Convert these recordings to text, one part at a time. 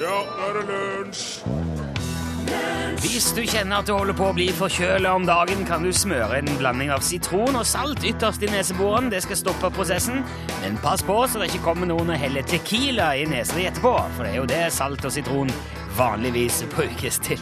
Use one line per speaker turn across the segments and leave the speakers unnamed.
Ja, nå er det lunsj!
Hvis du kjenner at du holder på å bli forkjøla om dagen, kan du smøre en blanding av sitron og salt ytterst i neseborene. Det skal stoppe prosessen. Men pass på så det ikke kommer noen og heller Tequila i nesa di etterpå, for det er jo det salt og sitron vanligvis brukes til.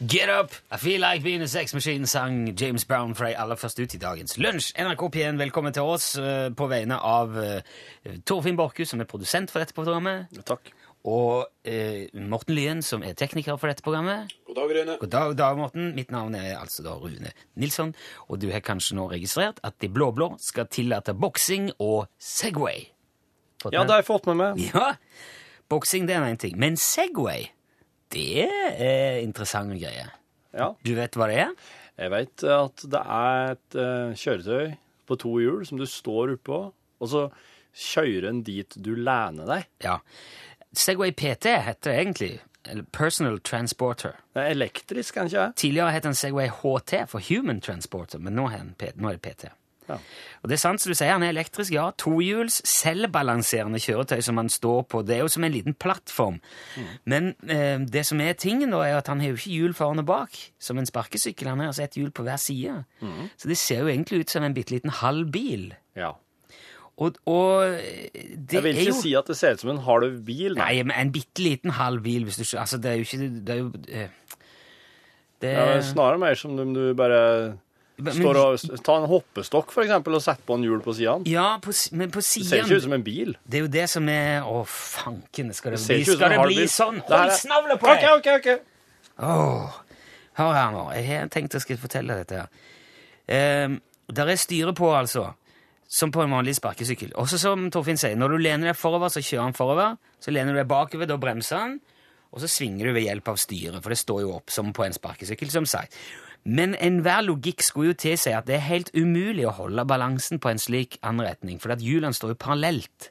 Get up! I feel like being a sex machine, sang James Brown Frey aller først ut i dagens lunsj. NRK P1, velkommen til oss eh, på vegne av eh, Torfinn Borchhus, som er produsent for dette programmet,
Takk.
og eh, Morten Lyen, som er tekniker for dette programmet.
God dag, Rune.
God dag, dag, Morten. Mitt navn er altså da Rune Nilsson, og du har kanskje nå registrert at de blå-blå skal tillate boksing og Segway. Fått
Ja,
med-
det har jeg fått med meg.
ja, boksing det er én ting, men Segway, det er interessante greier.
Ja.
Du vet hva det er?
Jeg vet at det er et eh, kjøretøy på to hjul som du står oppå, og så kjører en dit du lener deg.
Ja. Segway PT heter det egentlig. Eller Personal Transporter.
Det er elektrisk, kan ikke jeg?
Tidligere het den Segway HT for Human Transporter, men nå er, den P- nå er det PT.
Ja.
Og det er sant, som du sier, han er elektrisk, ja. Tohjuls, selvbalanserende kjøretøy som han står på. Det er jo som en liten plattform.
Mm.
Men eh, det som er tingen, da, er at han har jo ikke hjul foran og bak, som en sparkesykkel. Han har altså ett hjul på hver side.
Mm.
Så det ser jo egentlig ut som en bitte liten halv bil.
ja.
Og, og eh, det
Jeg vil
er jo
ikke si at det ser ut som en halv bil. da.
Nei, men en bitte liten halv bil hvis du ikke Altså, det er jo ikke Det er jo eh, det,
Det er snarere mer som om du bare
Men-
står og Ta en hoppestokk, for eksempel, og setter på en hjul på siden.
Ja, på, s- men på
Det ser ikke
siden
ut som en bil.
Det er jo det som er Å, fanken, skal det
ser
bli,
ikke ut som
skal
en
det
halv
bli
bil.
sånn?
Det her
Hold
er-
snavla på deg!
OK, OK.
Åh, hør her nå. Jeg har tenkt jeg skal fortelle dette her. Ehm, der er styret på, altså. Som på en vanlig sparkesykkel. Også som Torfinn sier, når du lener deg forover, så kjører han forover. Så lener du deg bakover, da bremser han. Og så svinger du ved hjelp av styret, for det står jo opp som på en sparkesykkel, som sagt. Men enhver logikk skulle jo tilsi at det er helt umulig å holde balansen på en slik anretning, for at hjulene står jo parallelt.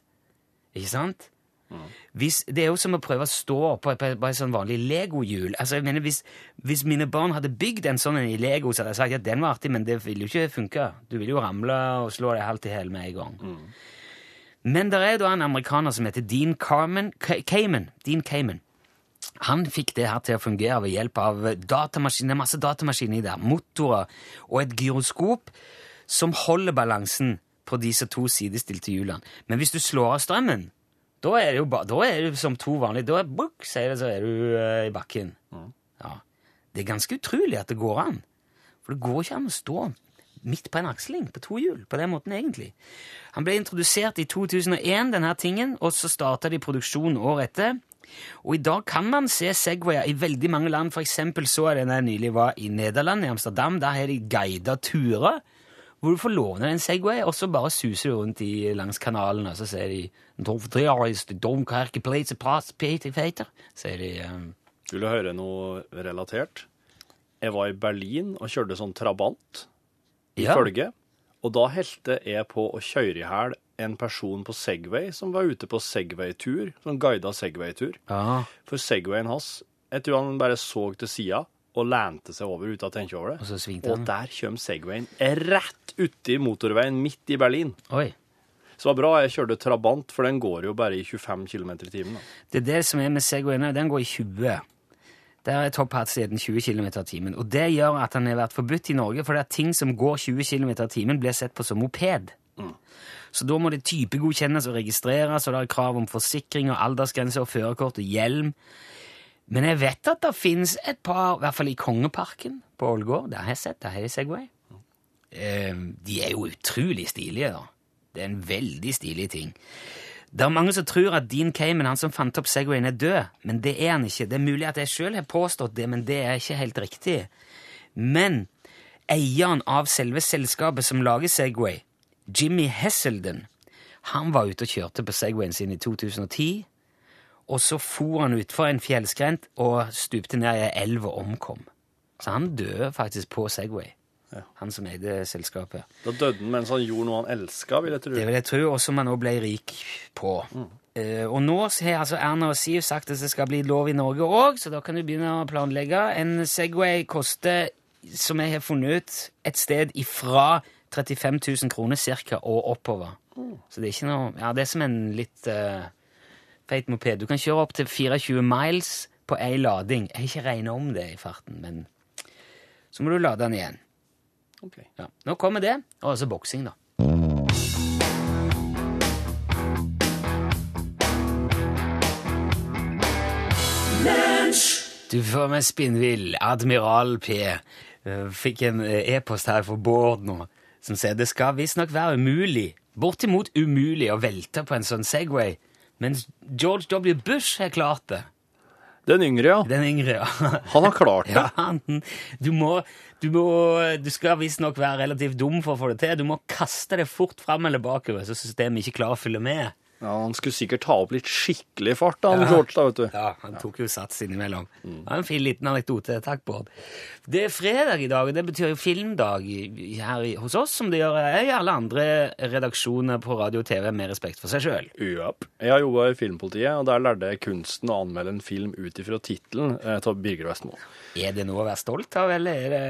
Ikke sant? hvis, det er jo som å prøve å stå på et, på et, på et sånn vanlig legohjul. Altså, jeg mener, hvis, hvis mine barn hadde bygd en sånn en i Lego, så hadde jeg sagt at den var artig, men det ville jo ikke funke. Du ville jo ramle og slå deg halvt i hæl med en gang. Men der er da en amerikaner som heter Dean Carmen, Ca- Cayman. Dean Cayman. Han fikk det her til å fungere ved hjelp av datamaskiner, masse datamaskiner i der, motorer og et gyroskop som holder balansen på disse to sidestilte hjulene. Men hvis du slår av strømmen, da er det jo ba, da er det som to vanlige Da er, bukk, sier det, så er du eh, i bakken. Ja. Det er ganske utrolig at det går an. For det går ikke an å stå midt på en aksling på to hjul på den måten, egentlig. Han ble introdusert i 2001, denne tingen, og så starta de produksjon året etter. Og i dag kan man se Segwayer i veldig mange land. For eksempel så jeg den jeg nylig var i Nederland, i Amsterdam. Der har de guida turer hvor du får låne en Segway, og så bare suser du rundt i, langs kanalen, og så sier de «Don't for three hours, the Domkerke Place, Pass, Peter, Peter», sier de. ehm,
Vil du høre noe relatert? Jeg var i Berlin og kjørte sånn trabant i
Ja.
følge. Og da helte jeg på å kjøre i hæl en person på Segway som var ute på Segway-tur. Sånn guida Segway-tur.
Ja,
For Segwayen hans Jeg tror han bare så til sida og lente seg over uten å tenke over det.
Og så svingte han.
Og der kom Segwayen rett uti motorveien midt i Berlin.
oi.
Så det var bra jeg kjørte trabant, for den går jo bare i 25 km i timen. da.
Det er det som er med Segwayen, nå, den går i 20. Der er topphastigheten 20 km i timen. Og det gjør at den har vært forbudt i Norge, fordi at ting som går 20 km i timen, blir sett på som moped. Så da må det typegodkjennes og registreres, og det er krav om forsikring og aldersgrense og førerkort og hjelm. Men jeg vet at det finnes et par, i hvert fall i Kongeparken på Ålgård, der har jeg sett, der har de Segway. Eh, de er jo utrolig stilige, da. Det er en veldig stilig ting. Det er mange som tror at Dean Cayman, han som fant opp Segwayen, er død, men det er han ikke. Det er mulig at jeg sjøl har påstått det, men det er ikke helt riktig. Men eieren av selve selskapet som lager Segway, Jimmy Hesselden, han var ute og kjørte på Segwayen sin i 2010, og så for han utfor en fjellskrent og stupte ned i ei elv og omkom. Så han døde faktisk på Segway, han som eide selskapet.
Da døde han mens han gjorde noe han elska, vil jeg tro.
Det vil jeg tro, og som man også ble rik på. Eh, og nå har altså Erna og Siv sagt at det skal bli lov i Norge òg, så da kan du begynne å planlegge. En Segway koster, som jeg har funnet ut, et sted ifra 35 000 kroner cirka og oppover. Så det er ikke noe Ja, det er som en litt eh, feit moped. Du kan kjøre opp til 24 miles på én lading. Jeg har ikke regna om det i farten, men så må du lade den igjen.
Ok.
Ja. Nå kommer det, og også boksing, da. Du får med spinnvill. Admiral P. Eh, Fikk en eh, e-post her fra Bård nå, som sier det skal visstnok være umulig, bortimot umulig, å velte på en sånn Segway, mens George W. Bush har klart det.
Den yngre, ja.
Den yngre, ja.
Han har klart det.
Ja, han- du må, du må Du skal visstnok være relativt dum for å få det til. Du må kaste det fort fram eller bakover, så systemet ikke klarer å følge med.
Ja, Han skulle sikkert ta opp litt skikkelig fart, da, han George, da, vet du.
Ja, Han tok jo sats innimellom. Det var en fin liten anekdote. Takk, Bård. Det er fredag i dag, og det betyr jo filmdag i- her i- hos oss, som det gjør eh, i alle andre redaksjoner på radio og TV, med respekt for seg sjøl.
Japp. Jeg har jobba i Filmpolitiet, og der lærte jeg kunsten å anmelde en film ut ifra tittelen eh, av Birger Vestmo.
Er det noe å være stolt av, eller er det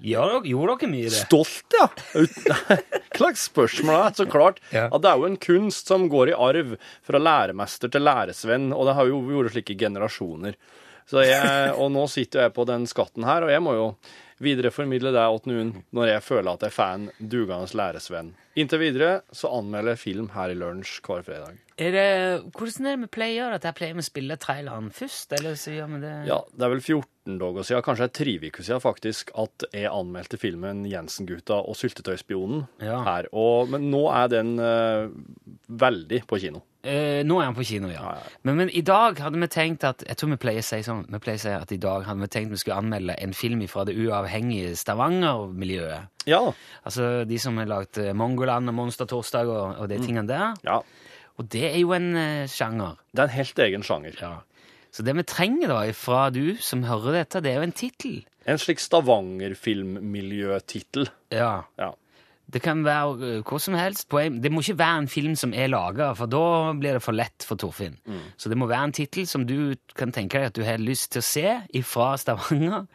Gjør dere- Gjorde dere mye i det?
Stolt, ja! Ut- Slags spørsmål er så klart.
Ja.
At det er jo en kunst som går i arv fra læremester til læresvenn, og det har jo vært slike generasjoner. Så jeg, og nå sitter jo jeg på den skatten her, og jeg må jo videreformidle det åt noen når jeg føler at jeg får en dugende læresvenn. Inntil videre så anmelder jeg film her i lunsj hver fredag.
Er det hvordan er det med Play gjør dette? Pleier vi å spille traileren først, eller så gjør vi det
Ja, det er vel 14 dager siden, kanskje ei trivike siden faktisk, at jeg anmeldte filmen 'Jensen-gutta og syltetøyspionen'
Ja.
her. Og, men nå er den eh, veldig på kino.
Eh, nå er han på kino, ja.
Ja, ja.
Men, men i dag hadde vi tenkt at Jeg tror vi pleier å si sånn Vi pleier å si at i dag hadde vi tenkt vi skulle anmelde en film fra det uavhengige Stavanger-miljøet.
Ja.
Altså de som har lagd eh, Mongoland og Monster Torsdag og, og de tingene der.
ja.
Og det er jo en eh, sjanger.
Det er en helt egen sjanger.
Ja. Så det vi trenger da fra du som hører dette, det er jo en tittel.
En slik Stavanger-filmmiljøtittel.
Ja.
Ja.
Det kan være eh, hva som helst. Poeng. Det må ikke være en film som er laga, for da blir det for lett for Torfinn. Så det må være en tittel som du kan tenke deg at du har lyst til å se ifra Stavanger.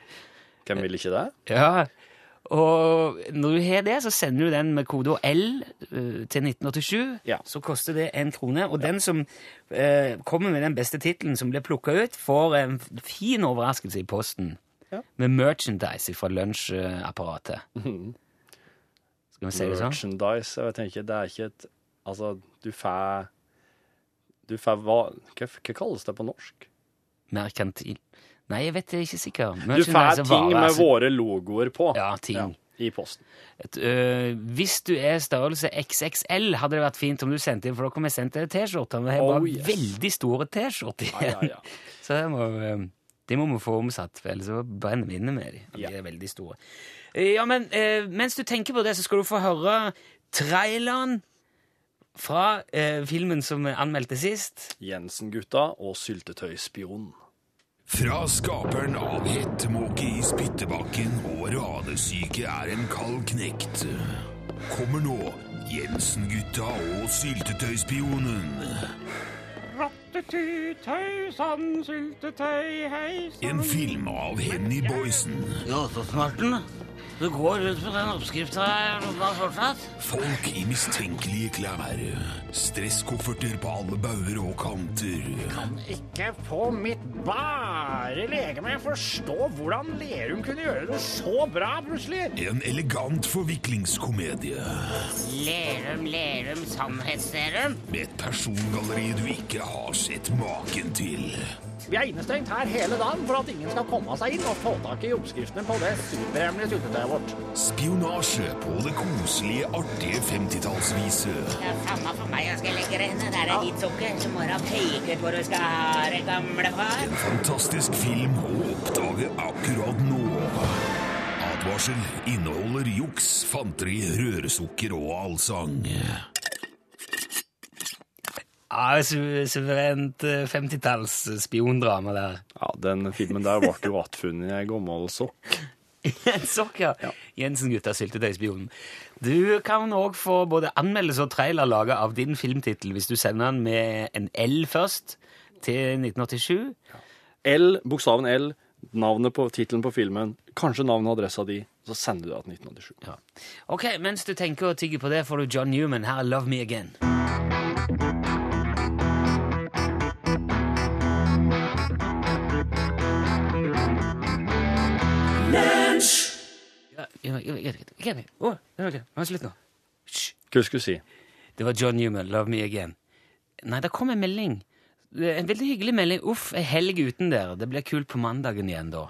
Hvem vil ikke
Eh,
det?
Ja. Og når du har det, så sender du den med kode L eh, til 1987.
Ja.
Så koster det én krone. Og den som eh, kommer med den beste tittelen som blir plukka ut, får en fin overraskelse i posten.
Ja.
Med merchandise fra lunsjapparatet.
Mhm.
Skal vi si det sånn?
Merchandise jeg tenker, Det er ikke et Altså, du får Du får hva Hva, hva kalles det på norsk?
Merkantil Nei, jeg vet det jeg er ikke sikker.
Du får
Merchandise er
ting
varer,
med
altså.
våre logoer på.
Ja, ting.
I posten.
Et, øh, hvis du er størrelse XXL, hadde det vært fint om du sendte inn, for da kommer jeg sendt deg T-skjorter. Men jeg har
Oh,
bare
yes.
veldig store T-skjorter
Ja,
igjen.
ja, ja.
Så det må, øh, de må vi få omsatt, for ellers så brenner vi inne med de. De
Ja.
er veldig store. Eh, Ja, men eh, mens du tenker på det, så skal du få høre traileren fra eh, filmen som vi anmeldte sist.
Jensen-gutta og Syltetøyspionen.
Fra skaperen av Hettemåke i Spyttebakken og Ranesyke er en kald knekt. Kommer nå Jensen-gutta og Syltetøyspionen.
Rattetutøy, sann syltetøy, hei
En film av Henny Boysen.
Jåsåsmarten, du går rundt med den oppskrifta her fortsatt?
Folk i mistenkelige klær. Stresskofferter på alle bauger og kanter.
Ikke på mitt bare legeme forstå hvordan Lerum kunne gjøre det så bra plutselig.
En elegant forviklingskomedie
Lerum, Lerum, sannhetsserum.
med et persongalleri du ikke har sett maken til.
Vi er innestengt her hele dagen for at ingen skal komme seg inn og få tak i oppskriftene på det superhemmelige syltetøyet vårt.
Spionasje på det koselige, artige 50-tallsviset.
Det er samme for meg, jeg skal legge det henne. Der er ditt sukker. Så må du ha peker hvor du skal ha det, gamle far.
En fantastisk film å oppdage akkurat nå. Advarsel inneholder juks, fanteri, røresukker og allsang.
Ja, su- Suverent eh, 50-talls eh, spiondrama der.
Ja, den filmen der ble jo attfunnet i ei gammel sokk.
En sokk, ja. Jensen-gutta, syltetøyspionen. Du kan òg få både anmeldelse og trailer laga av din filmtittel hvis du sender den med en L først, til 1987.
L, bokstaven L, navnet på tittelen på filmen, kanskje navnet og adressa di, så sender du det til 1987.
Ja. Ok, mens du tenker og tygger på det, får du John Newman her, Love Me Again. Ja, ja, ja, ja, ja, ja. Å, ja, ok. Nå er det Slutt nå.
Hva skulle du si?
Det var John Newman, Love Me Again. Nei, det kom en melding. Det er En veldig hyggelig melding. Uff, ei helg uten dere. Det blir kult på mandagen igjen da.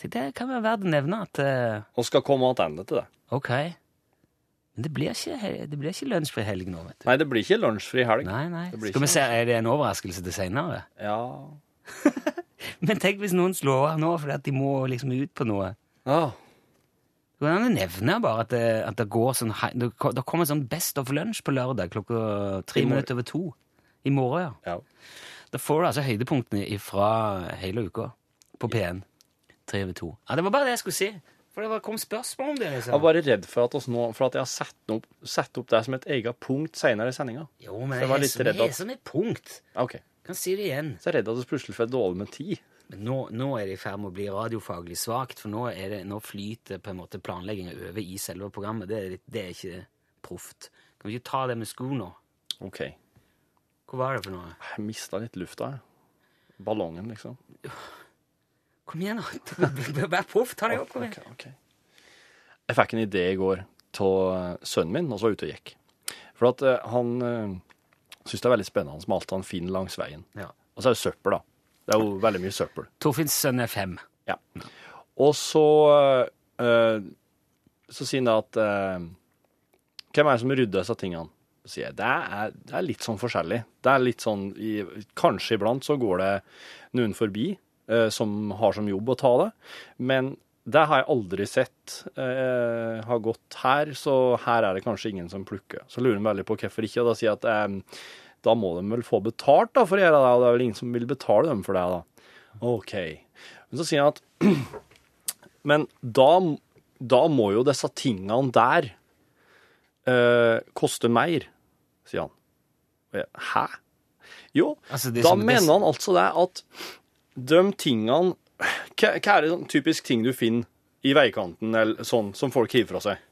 Så Det kan være verdt å nevne at eh,
Og skal komme tilbake til det.
ok. Men det blir ikke, he- det blir ikke lunsjfri helg nå, vet du.
Nei, det blir ikke lunsjfri helg.
Nei, nei.
Det blir
Skal vi
ikke
se, er det en overraskelse til seinere?
Ja.
Men tenk hvis noen slår av nå fordi at de må liksom ut på noe.
Ah,
Hvordan nevner bare at det, at det går sånn hei- Det ko- det kommer sånn Best of Lunch på lørdag klokka
I
tre
morgen.
minutter over to. I morgen, ja.
ja.
Da får du altså høydepunktene fra hele uka på P1. Tre over to. Ja, det var bare det jeg skulle si. For det var- kom spørsmål om det.
Jeg er
liksom.
bare redd for at, oss nå, for at jeg har satt opp, satt opp det som et eget punkt senere i sendinga.
Jo, men jeg
Så jeg var
er
litt
som-
redd
jeg er
at-
som et punkt.
Ok.
Kan si det igjen.
Så jeg er redd at vi plutselig får dårlig med tid.
Men nå, nå er det i ferd med å bli radiofaglig svakt, for nå, er det, nå flyter på en måte planleggingen over i selve programmet. Det er, litt- det er ikke proft. Kan vi ikke ta det med sko nå?
Ok. Jeg
Hva var det for noe?
mista litt lufta, jeg. Ballongen, liksom.
Kom igjen, nå! Vær proff, ta det opp! kom igjen.
Ok, ok. Jeg fikk en idé i går av sønnen min, og så var jeg ute og gikk. For at eh, han uh, syns det er veldig spennende. Han malte han fin langs veien.
Ja.
Og så er det søppel, da. Det er jo veldig mye søppel.
Torfinns sønn er fem.
Ja. Og så eh, Så sier han da at eh, Hvem er det som rydder disse tingene? Så sier jeg, det er, det er litt sånn forskjellig. Det er litt sånn i, Kanskje iblant så går det noen forbi eh, som har som jobb å ta det, men det har jeg aldri sett eh, har gått her, så her er det kanskje ingen som plukker. Så lurer han veldig på hvorfor ikke, og da sier jeg at eh, da må de vel få betalt da, for å gjøre det, og det er vel ingen som vil betale dem for det. da. OK. Men så sier han at men da, da må jo disse tingene der eh, koste mer, sier han. Og jeg, Hæ? Jo,
Altså, det er
da
som-
mener han altså det at de tingene Hva hva er det sånn typisk ting du finner i veikanten eller sånn, som folk hiver fra seg?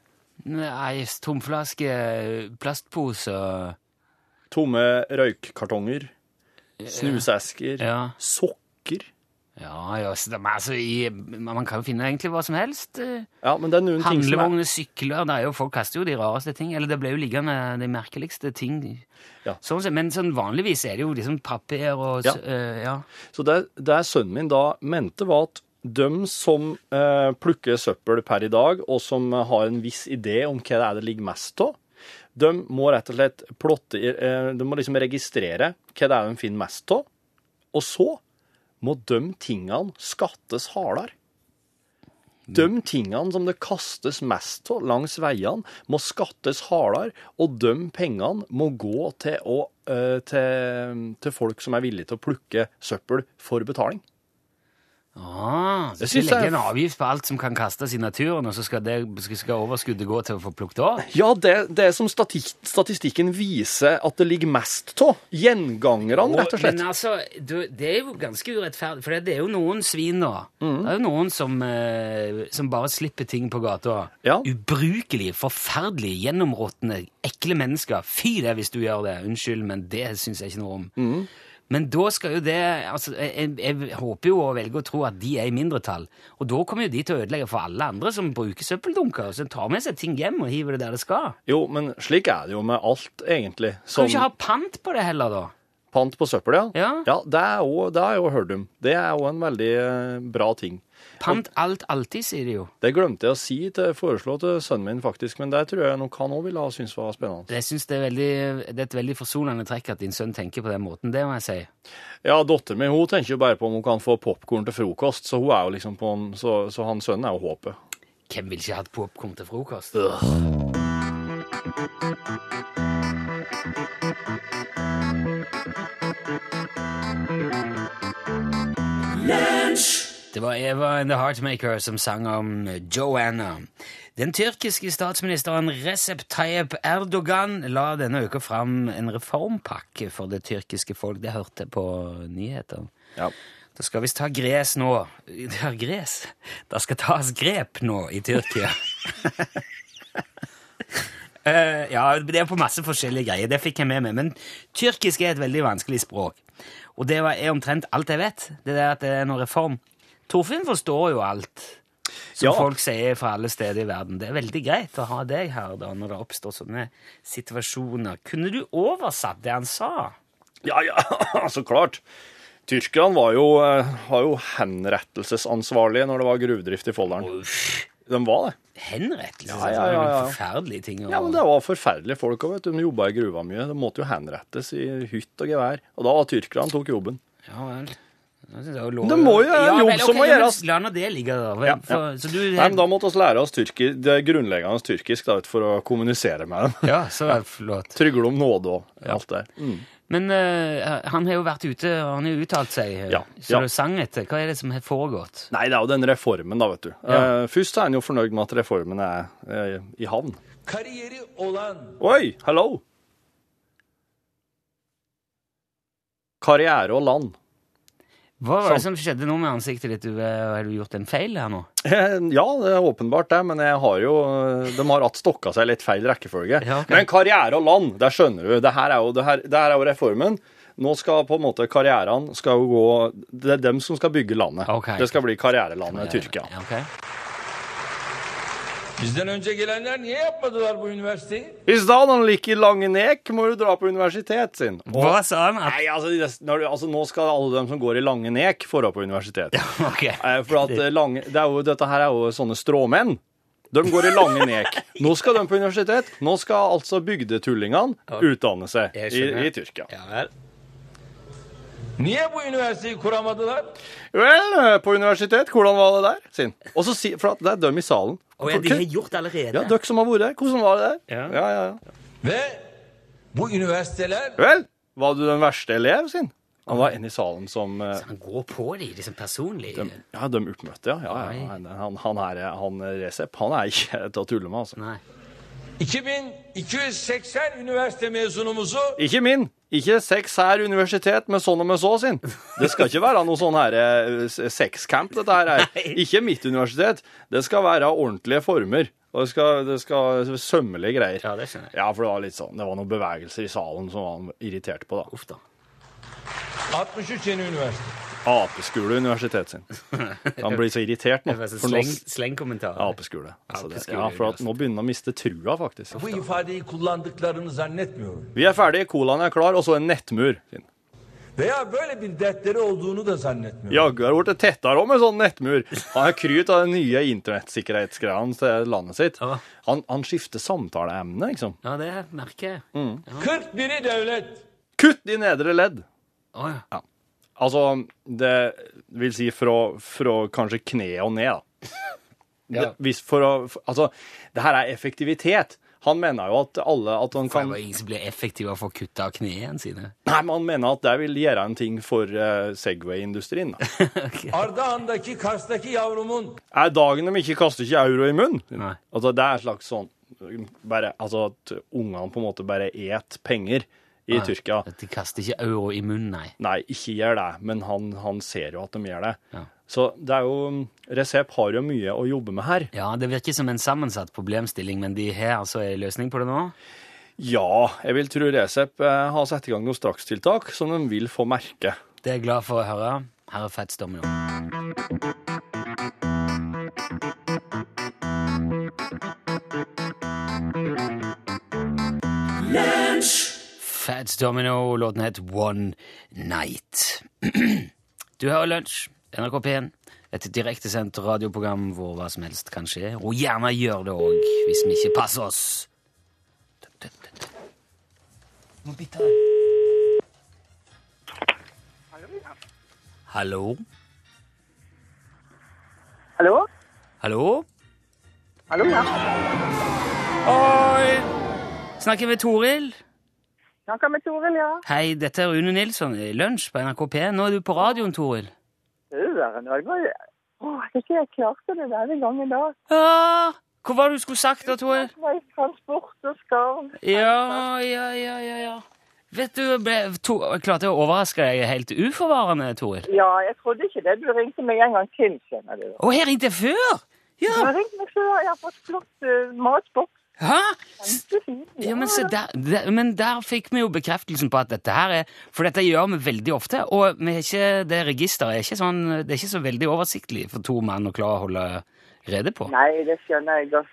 Nei, tomflaske, eh, plastpose og
Tomme røykkartonger, snusesker,
Ja.
sokker
Ja, ja, så det, men altså, i, man kan jo finne egentlig hva som helst. eh.
Ja, men det er noen ting som er
Handlevogner, sykler det er jo, Folk kaster jo de rareste ting. Eller det ble jo liggende de merkeligste ting.
Ja.
Sånn, sett, men sånn, vanligvis er det jo liksom papir og
Ja.
s- eh, ja.
Så det, det sønnen min da mente var at de som eh, plukker søppel per i dag, og som har en viss idé om hva det er det ligger mest av, de må rett og slett plotte, i- eh, de må liksom registrere hva det er de finner mest av, og så må de tingene skattes hardere. De tingene som det kastes mest av langs veiene, må skattes hardere, og de pengene må gå til, å, eh, til, til folk som er villige til å plukke søppel for betaling.
Ah, så
Jeg
skal
synes det er
legge en
f-
avgift på alt som kan kastes i naturen, og så skal, det, skal- skal overskuddet gå til å få plukket opp?
Ja, det, det som stati- statistikken viser at det ligger mest av. Gjengangerne, rett og slett.
Men altså, du, det er jo ganske urettferdig, for det er jo noen svin nå.
Mm.
Det er jo noen som, eh, som bare slipper ting på gata.
Ja.
Ubrukelige, forferdelige, gjennområtne, ekle mennesker. Fy det hvis du gjør det. Unnskyld, men det syns jeg ikke noe om.
Mm.
Men da skal jo det altså, jeg, jeg jeg håper jo og velger å tro at de er i mindretall. Og da kommer jo de til å ødelegge for alle andre som bruker søppeldunker, og som tar med seg ting hjem og hiver det der det skal.
Jo, men slik er det jo med alt, egentlig.
Kan
Som
du ikke ha pant på det heller, da?
pant på søppel, ja.
Ja.
det, er jo, det har jeg jo hørt om. Det er jo en veldig eh, bra ting.
Pant alt alltid, sier de jo.
Det glemte jeg å si til, foreslå til sønnen min, faktisk, men det tror jeg nok han òg ville ha syntes var spennende.
Jeg synes det, er veldig, det er et veldig forsonende trekk at din sønn tenker på den måten. Det må jeg si.
Ja, datteren min hun tenker jo bare på om hun kan få popkorn til frokost, så hun er jo liksom på en, så, så han sønnen er jo håpet.
Hvem vil ikke ha et popkorn til frokost? Det var Eva and The Heartmaker som sang om Joanna. Den tyrkiske statsministeren Recep Tayyip Erdogan la denne uka fram en reformpakke for det tyrkiske folk. Det hørte på nyheter.
Ja.
Det skal visst ta gres nå. Det er gres. Det skal tas grep nå i Tyrkia. Eh, ja, det er på masse forskjellige greier. Det fikk jeg med meg. Men tyrkisk er et veldig vanskelig språk. Og det var- er omtrent alt jeg vet. Det der at det er noen reform. Torfinn forstår jo alt. som
Ja.
folk sier fra alle steder i verden. Det er veldig greit å ha deg her da, når det oppstår sånne situasjoner. Kunne du oversatt det han sa?
Ja, ja, så klart. Tyrkerne var jo, eh, har jo henrettelsesansvarlige når det var gruvedrift i Folldalen.
Uff,
De var det.
henrettelse?
Ja, ja, ja, ja.
Forferdelige ting. å-
Ja, men det var forferdelige folk òg, vet du. De jobba i gruva mye. De måtte jo henrettes i hytt og gevær. Og da var tyrkerne tok jobben.
Ja vel. Jeg synes Det er jo lov-
Det må jo være en
Ja,
jobb
vel,
som
ok,
må
ja, men
gjøres.
La nå det ligge, da. Vel,
Ja, ja.
For, så du,
Nei, men da måtte vi lære oss tyrki, det grunnleggende tyrkisk da, vet du, for å kommunisere med dem.
Ja, så er det flott.
Trygle om nåde og alt det. Mm.
Men eh, han har jo vært ute, og han har jo uttalt seg, eh,
Ja,
så
ja.
det sang etter. Hva er det som har foregått?
Nei, det er jo den reformen, da, vet du.
Ja.
Eh, først er en jo fornøyd med at reformen er eh, i havn.
Karriere Åland.
Oi, hello! Karriere og land.
Hva var det
Sånn.
som skjedde nå med ansiktet ditt? Du, eh, Har du gjort en feil her nå?
Eh, Ja, det er åpenbart det, men jeg har jo, eh, de har hatt stokka seg litt feil rekkefølge.
Ja, ok.
Men karriere og land, der skjønner du. Det her er jo, det her, det her er jo reformen. Nå skal på en måte karrieren skal jo gå, det er dem som skal bygge landet.
Ok.
Det skal bli karrierelandet Tyrkia.
Ja, ok.
Bizden önce gelenler niye yapmadılar bu üniversiteyi?
Hvis da noen liker Langenek, må du dra på universitet sin.
Hva sa han? At,
Nei, altså, det- når du, altså nå skal alle dem som går i Langenek få dra på universitet.
ok.
Eh, For at eh, lange, det er jo, dette her er jo sånne stråmenn. De går i lange nek. Nå skal de på universitet. Nå skal altså bygdetullingene utdanne seg
Jeg
i,
skjønner.
i Tyrkia.
Ja vel.
Niye bu üniversiteyi kuramadılar?
Vel, eh, på universitet, hvordan var det der? Sin. Og så si, For at det er dem i salen.
Å ja, de har gjort allerede?
ja, dere som har vært der, hvordan var det der?
Ja.
Ja, ja, ja.
Ve bu üniversiteler
Vel, var du den verste elev, sin? Han var en i salen som eh,
Han går på de, liksom personlig?
Ja, de oppmøtte, ja. ja, ja. Han, han, han er han Resep. Han er ikke til å tulle med, altså.
Nei.
2280 üniversite mezunumuzu
Ikke min. Ikke sex her universitet med sånn og med så sin. Det skal ikke være noe sånn her eh, s- sexcamp, dette her. er.
Nei.
Ikke mitt universitet. Det skal være ordentlige former. Og det skal, det skal sømmelige greier.
Ja, det skjønner jeg.
Ja, for det var litt sånn, det var noen bevegelser i salen som han var irritert på, da.
Uff da.
63 yeni üniversite.
Apeskule universitet sin. Han blir så irritert nå.
Det var sånn
For nå
sleng- Slengkommentar.
Apeskule. Altså det,
Apeskule
ja, for at nå begynner han å miste trua, faktisk.
Bu ifadeyi kullandıklarını zannetmiyorum.
Vi er ferdige, colaen er klar, og så en nettmur. Sin.
Veya böyle bir dertleri olduğunu da zannetmiyorum.
Jaggu har blitt tettere òg med sånn nettmur. Han er kryt av den nye internettsikkerhetsgreiene til landet sitt.
Ja.
Han, han skifter samtaleemne, liksom.
Ja, det merker jeg. Å
Mm.
41'i devlet.
Kutt i nedre ledd!
ja.
Altså, det vil si fra, fra kanskje kne og ned, da. Det, hvis for å Altså, det her er effektivitet. Han mener jo at alle at han
Det
kan
var ingen som ble effektiv av å få kutta av knærne sine.
Nei, men han mener at det vil gjøre en ting for eh, Segway-industrien. da.
Ardahan'daki Kars'taki yavrumun
Er dagen de ikke kaster ikke euro i munnen?
Nei.
Altså, det er et slags sånn bare, Altså at ungene på en måte bare et penger i Tyrkia.
At de kaster ikke euro i munnen, nei.
Nei, ikke gjør det, men han, han ser jo at de gjør det.
Ja.
Så det er jo Resep har jo mye å jobbe med her.
Ja, det virker som en sammensatt problemstilling, men de har altså en løsning på det nå.
Ja, jeg vil tro Resep eh, har satt i gang noen strakstiltak som de vil få merke.
Det er jeg glad for å høre. Her er Fats Domino. Fats Domino, låten het One Night. Du hører Lunsj, NRK P1. Et direktesendt radioprogram hvor hva som helst kan skje. Og gjerne gjør det òg, hvis vi ikke passer oss. Nå biter jeg. Hallo?
Hallo?
Hallo?
Hallo, ja.
Oi! Snakker med Toril?
Snakka med Toril, ja.
Hei, dette er Rune Nilsson i Lunsj på NRK P1. Nå er du på radioen, Toril.
Søren, det var jo Åh, jeg ikke jeg klarte det denne gangen da.
Ah, hva var det du skulle sagt da, Toril?
Det var i transport og skarv.
Ja, ja, ja, ja, ja. Vet du, jeg ble, to, jeg klarte å overraske deg helt uforvarende, Toril.
Ja, jeg trodde ikke det. Du ringte meg en gang til, kjenner du.
Å, her ringte jeg før!
Du
Ja,
har ringt meg før. Jeg har fått flott eh, matboks.
hæ? S-
Kjempefin.
Ja, men, se der, der, men der fikk vi jo bekreftelsen på at dette her er For dette gjør vi veldig ofte, og vi er ikke, det registeret er ikke, sånn, det er ikke så veldig oversiktlig for to menn å klare å holde rede på.
Nei, det skjønner jeg godt.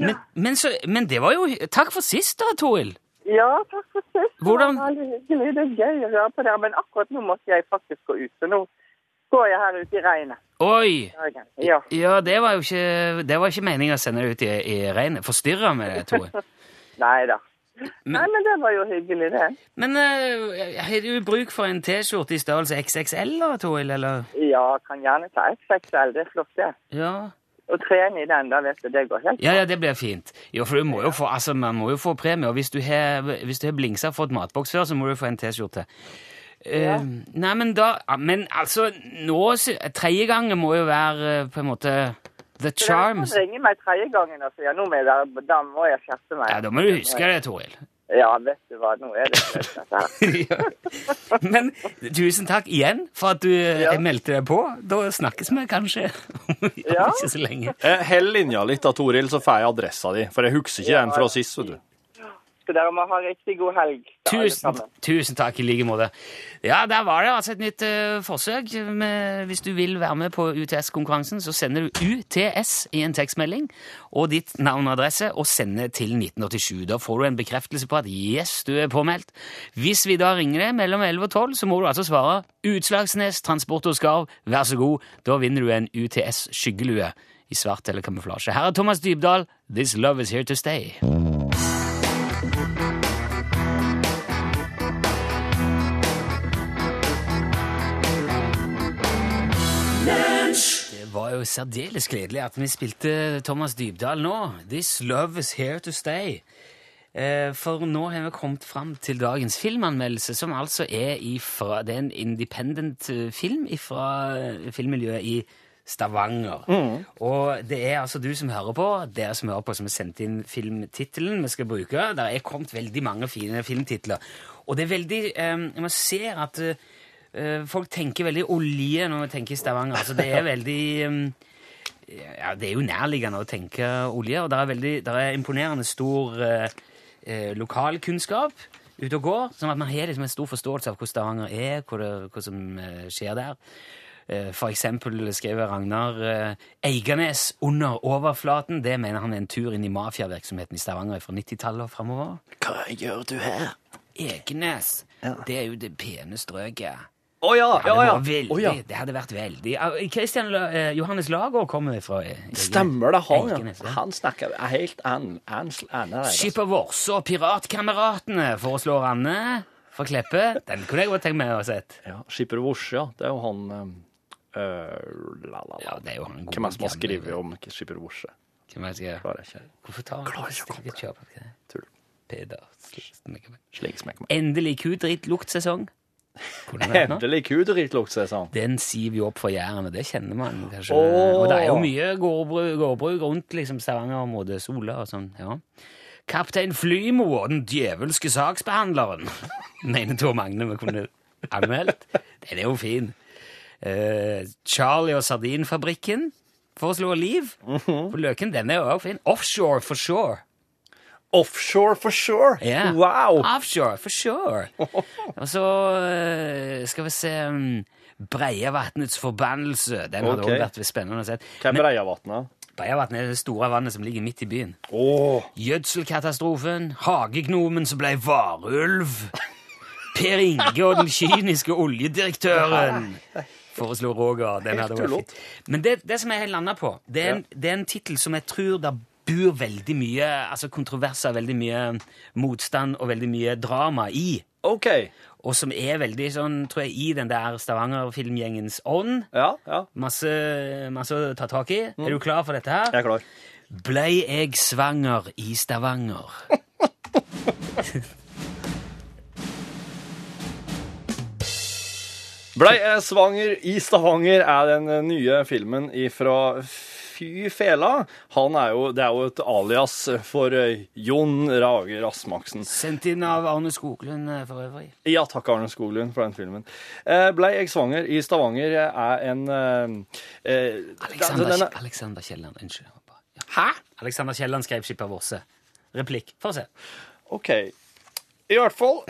Men, men, så, men det var jo Takk for sist, da, Toril.
Ja, takk for sist. Det var
Hvordan-
veldig hyggelig. Det er gøy å høre på dere, men akkurat nå måtte jeg faktisk gå ut. Så nå går jeg her ute i regnet.
Oi!
Ja.
Ja, det var jo ikke, det var ikke meningen å sende det ut i, i regnet. Forstyrra med det, Toril.
Nei da.
Men-
Nei, men det var jo hyggelig, det.
Men eh, har du bruk for en T-skjorte i størrelse XXL, da, Toril? Eller?
Ja, kan gjerne ta XXL. Det er flott, det.
Ja.
Å trene i den, da vet du, det går helt
ja, ja, det blir fint. Jo, for du må jo få, altså, man må jo få premie. Og hvis du har, hvis du har blingsa fått matboks før, så må du få en T-skjorte. Eh, Nei, men da ja, Men altså, nå sy- Tredje gangen må jo være eh, på en måte the
Så dere kan
charms.
ringe meg tredje gangen og si ja, nå må jeg være Da må jeg skjerpe meg.
Ja, da må du huske det, Toril.
Ja, vet du hva, nå er det sløyt, dette
Ja.
her.
Men tusen takk igjen for at du eh,
Ja.
meldte deg på. Da snakkes vi kanskje om
Ja.
ikke så lenge.
Eh, Hell linja litt da, Toril, så får jeg adressa di, for jeg husker ikke den fra sist. vet du.
Så dere må ha en riktig god helg. da, alle
Tusen,
sammen.
tusen takk i like måte. Ja, der var det altså et nytt eh, forsøk. Med, hvis du vil være med på UTS-konkurransen, så sender du UTS i en tekstmelding og ditt navn og adresse og sender til 1987. Da får du en bekreftelse på at yes, du er påmeldt. Hvis vi da ringer deg mellom 11 og 12, så må du altså svare Utslagsnes, Transport og Skarv, vær så god. Da vinner du en UTS skyggelue i svart eller kamuflasje. Her er Thomas Dybdahl, This Love Is Here To Stay. Det var jo særdeles gledelig at vi spilte Thomas Dybdahl nå. This love is here to stay. Eh, For nå har vi kommet fram til dagens filmanmeldelse, som altså er ifra, det er en independent eh, film fra filmmiljøet i Stavanger. Og det er altså du som hører på, dere som hører på, som har sendt inn filmtittelen vi skal bruke. Der er kommet veldig mange fine filmtitler. Og det er veldig eh, Man ser at eh, eh, folk tenker veldig olje når vi tenker Stavanger. Altså det er veldig eh, ja, det er jo nærliggende å tenke olje, og det er, veldig, der er imponerende stor eh, eh, lokalkunnskap ute og går, sånn at man har liksom en stor forståelse av hvordan Stavanger er, hva, det, hva som eh, skjer der. Eh, for eksempel skrev Ragnar eh, Eiganes under overflaten. Det mener han er en tur inn i mafiavirksomheten i Stavanger fra 90-tallet og framover.
Hva gjør du her?
Egenes, det er jo det pene strøket.
Å ja,
Det
ja,
hadde,
ja.
vært veldig,
Å, ja.
det hadde vært veldig Eh, Christian, La- eh, Johannes Lager kommer fra eh, Egenes.
Stemmer det, han,
Egenes,
ja. Han snakker helt an- an- altså. annerledes.
Skipper Vorse og Piratkameratene foreslår Anne fra Kleppe. Den kunne jeg godt tenkt meg å ha sett.
Ja, Skipper Vorse, ja. Det er jo han eh, øh, la, la, la.
Ja, det er jo han gode
Hvem er det som har
gamle-
skrevet om Skipper Vorse?
Hvem er det som gjør-
Klarer jeg ikke.
Hvorfor tar han
Klarer ikke å
Stikker
komme
kjøp på det?
Tull.
Peder Slettmekk.
Slik smekker meg.
Endelig kudrittluktsesong. Kunne det vært noe?
Endelig kudritlukt, sier han.
Den siver jo opp fra Jæren, og det kjenner man kanskje.
Åh.
Og det er jo mye gårdbruk, gårdbruk rundt liksom Stavanger-området, Sola og sånn. ja. Kaptein Flymo og den djevelske saksbehandleren, mener Tor Magne vi kunne anmeldt. Den er jo fin. Eh, Charlie og Sardinfabrikken foreslår Liv på Løken. Den er jo også fin. Offshore for sure.
Offshore for sure!
Ja. Ah,
Wow!
Offshore, for sure. Og så eh, skal vi se um, Breiavatnets forbannelse. Den hadde
Ok.
også vært spennende å se.
Hva er Breiavatnet?
Breiavatnet er det store vannet som ligger midt i byen.
Åh,
Gjødselkatastrofen, hagegnomen som ble varulv, Per Inge og den kyniske oljedirektøren, foreslo Roger. Den hadde vært
ullott.
fint. Men det, det som jeg har landa på, det er en, det er en tittel som jeg tror der bor veldig mye altså kontroverser, veldig mye motstand og veldig mye drama i.
OK.
Og som er veldig sånn, tror jeg, i den der Stavanger-filmgjengens ånd.
Ja, ja.
Masse, masse å ta tak i. Er du klar for dette her?
Jeg er klar.
Blei jeg svanger i Stavanger?
Blei jeg svanger i Stavanger er den eh, nye filmen ifra Fy Fela. Han er jo, det er jo et alias for eh, Jon Rage Rasmaksen.
Sendt inn av Arne Skoglund eh, for øvrig.
Ja, takk Arne Skoglund for den filmen. Eh, Blei jeg svanger i Stavanger er en eh, eh,
Alexander,
den- den er-
Alexander Kielland. Unnskyld. jeg bare- Ja.
Hæ?
Alexander Kielland skrev Skipper Våse. Replikk. Få se.
OK. I hvert fall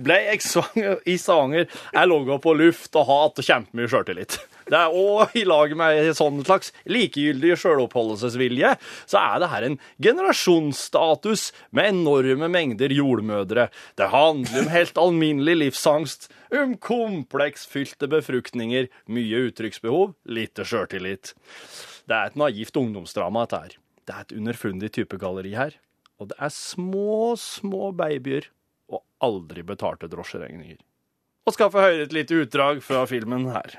ble jeg svanger i Stavanger. Jeg lå på luft og hat og kjempemye sjøltillit. det er, og i lag med en sånn slags likegyldig sjøloppholdelsesvilje, så er det her en generasjonsstatus med enorme mengder jordmødre. Det handler om helt alminnelig livsangst, om kompleksfylte befruktninger, mye uttrykksbehov, lite sjøltillit. Det er et naivt ungdomsdrama, dette her. Det er et underfundig type galleri her. Og det er små, små babyer og aldri betalte drosjeregninger. Og skal få høre et lite utdrag fra filmen her.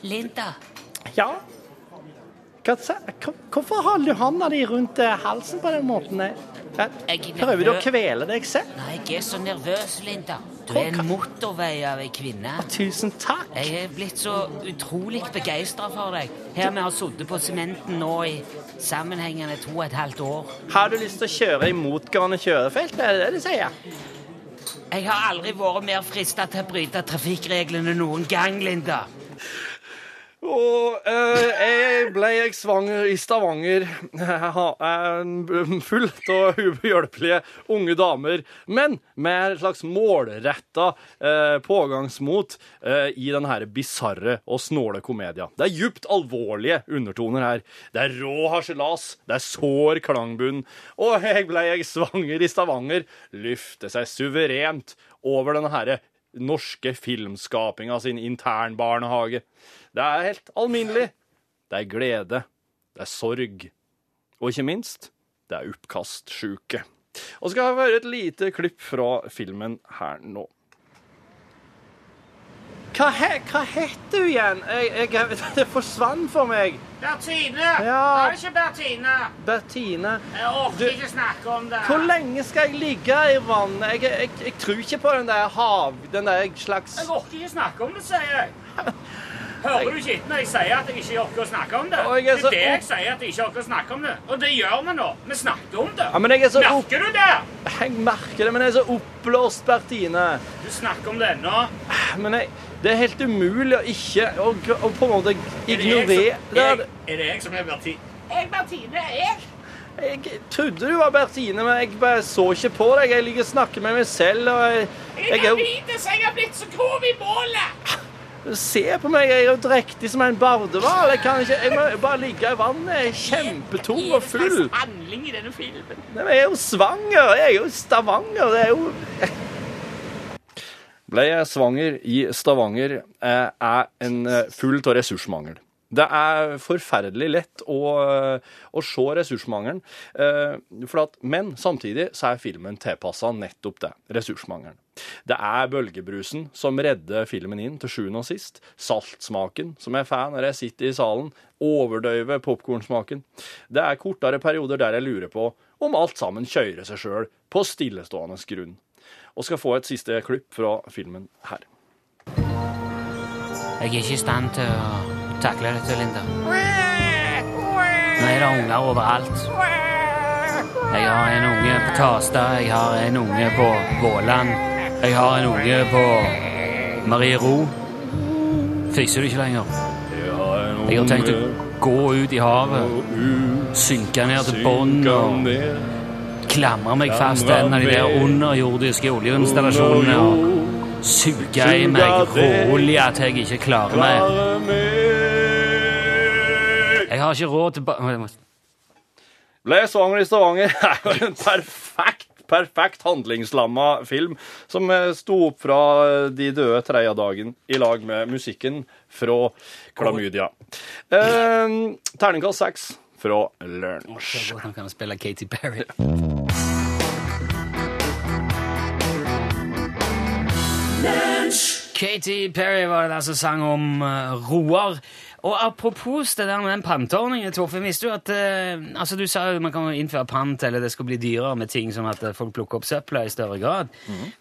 Linda,
Ja, hvorfor holder du hånda di rundt eh, halsen på den måten?
Jeg er Prøver du å nervøs.
kvele deg selv?
nei, jeg er så nervøs, Linda. Du er en motorvei av ei kvinne.
Tusen takk.
Jeg er blitt så utrolig begeistra for deg. Her vi har sittet på sementen nå i sammenhengende to og et halvt år.
Har du lyst til å kjøre i motgående kjørefelt? Er det det du sier?
Jeg har aldri vært mer frista til å bryte trafikkreglene noen gang, Linda.
Og eh, jeg ble jeg svanger i Stavanger. Jeg har eh, en full av ubehjelpelige unge damer, men med en slags målretta eh, pågangsmot eh, i den her bisarre og snåle komedia. Det er djupt alvorlige undertoner her. Det er rå harselas, det er sår klangbunn. Og jeg ble jeg svanger i Stavanger løfter seg suverent over den herre norske filmskapinga sin internbarnehage. Det er helt alminnelig. Det er glede. Det er sorg. Og ikke minst, det er oppkastsjuke. Og skal jeg høre et lite klipp fra filmen her nå. Hva, he, hva heter du igjen? Jeg, jeg, det forsvant for meg.
Bertine!
Ja. Er det
ikke Bertine?
Bertine.
Jeg orker
Du- ikke
snakke om det.
Hvor lenge skal jeg ligge i vannet? Jeg, jeg, jeg tror ikke på den der hav... Den der slags
orker ikke snakke om det, sier jeg. Hører du ikke etter når jeg sier at jeg ikke orker å snakke om det?
Å, jeg er så-
Det er det jeg sier, at jeg ikke orker å snakke om det. Og det gjør vi nå. Vi snakker om det.
Ja, men jeg er så opp...
Merker du det?
Jeg merker det, men jeg er så oppblåst, Bertine.
Du snakker om det ennå.
Men jeg, det er helt umulig å ikke å, gr- å på en måte
Er det jeg som-
ignorere
Er det- er det jeg som er Bertine? Jeg, Bertine, jeg.
Jeg trodde du var Bertine, men jeg bare så ikke på deg. Jeg ligger og snakker med meg selv, og jeg, jeg er jo
så jeg har blitt så grov i målet.
Se på meg, jeg er jo drektig som en bardehval. Jeg kan ikke Jeg må bare ligge i vannet. Jeg er kjempetom og full.
slags handling i denne filmen?
Nei, men jeg er jo svanger. Jeg er jo i Stavanger. Det er jo Ble jeg svanger i Stavanger eh, er en eh, full av ressursmangel. Det er forferdelig lett å, eh, å se ressursmangelen. eh, For at, men samtidig så er filmen tilpassa nettopp det. Ressursmangelen. Det er bølgebrusen som redder filmen inn til sjuende og sist. Saltsmaken som jeg får når jeg sitter i salen. Overdøyve popkornsmaken. Det er kortere perioder der jeg lurer på om alt sammen kjører seg sjøl på stillestående grunn og skal få et siste klipp fra filmen her.
Jeg er ikke i stand til å takle dette, Linda. Nå er det unger overalt. Jeg har en unge på Karstad, jeg har en unge på Våland, jeg har en unge på Marie Ro. Fiser du ikke lenger? Jeg har tenkt å gå ut i havet, synke ned til bånn og klamre meg fast til en av de der underjordiske oljeinstallasjonene og suge i meg råolje til jeg ikke klarer meg. Jeg har ikke råd til ba...
Ble jeg svanger i Stavanger er jo en perfekt, perfekt handlingslamma film som eh, sto opp fra eh, de døde tredje dagen i lag med musikken fra Klamydia. Eh, terningkast seks fra Lunsj.
Hvordan kan han spille Katy Perry? Katy Perry var det der som sang om eh, Roar. Og apropos det der med den panteordningen, Torfinn, visste du at eh, altså Du sa jo man kan innføre pant, eller det skal bli dyrere med ting, sånn at eh, folk plukker opp søpla i større grad.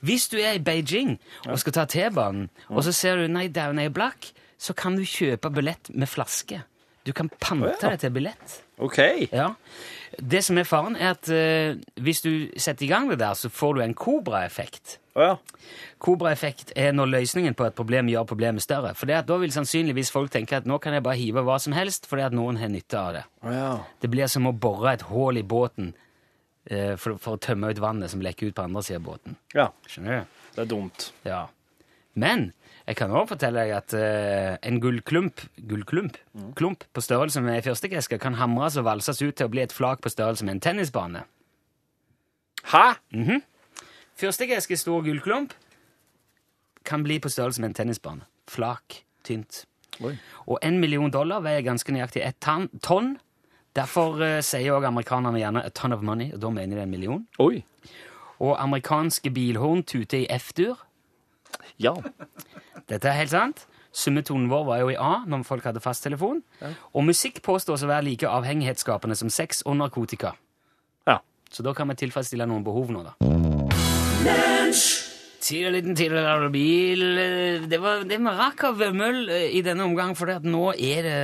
Hvis du er i Beijing og skal ta T-banen, og så ser du nei, down er blakk, så kan du kjøpe billett med flaske. Du kan pante
ja.
deg til billett.
OK.
Ja. Det som er faren, er at eh, hvis du setter i gang det der, så får du en kobraeffekt.
Å ja.
Kobraeffekt er når løsningen på et problem gjør problemet større. For det at da vil sannsynligvis folk tenke at nå kan jeg bare hive hva som helst, fordi at noen har nytte av det.
Å ja.
Det blir som å bore et hull i båten eh, for, for å tømme ut vannet som lekker ut på andre siden av båten.
Ja,
Skjønner du?
det er dumt.
Ja.
Men jeg kan også fortelle deg at eh, en gullklump gullklump,
Mm.
klump på størrelse med ei fyrstikkeske kan hamres og valses ut til å bli et flak på størrelse med en tennisbane.
Hæ?
Fyrstikkeske stor gullklump kan bli på størrelse med en tennisbane. Flak, tynt.
Oi.
Og en million dollar veier ganske nøyaktig ett tan- tonn. Derfor eh, sier også amerikanerne gjerne 'a ton of money', og da mener de en million.
Oi.
Og amerikanske bilhorn tuter i F-dur.
Ja.
Dette er helt sant. Summetonen vår var jo i A når folk hadde fasttelefon. Og musikk påstås å være like avhengighetsskapende som sex og narkotika.
Ja.
Så da kan vi tilfredsstille noen behov nå, da. Tid og liten tid og bil eh, Det var det vi rakk av møll eh, i denne omgang, for det at nå er det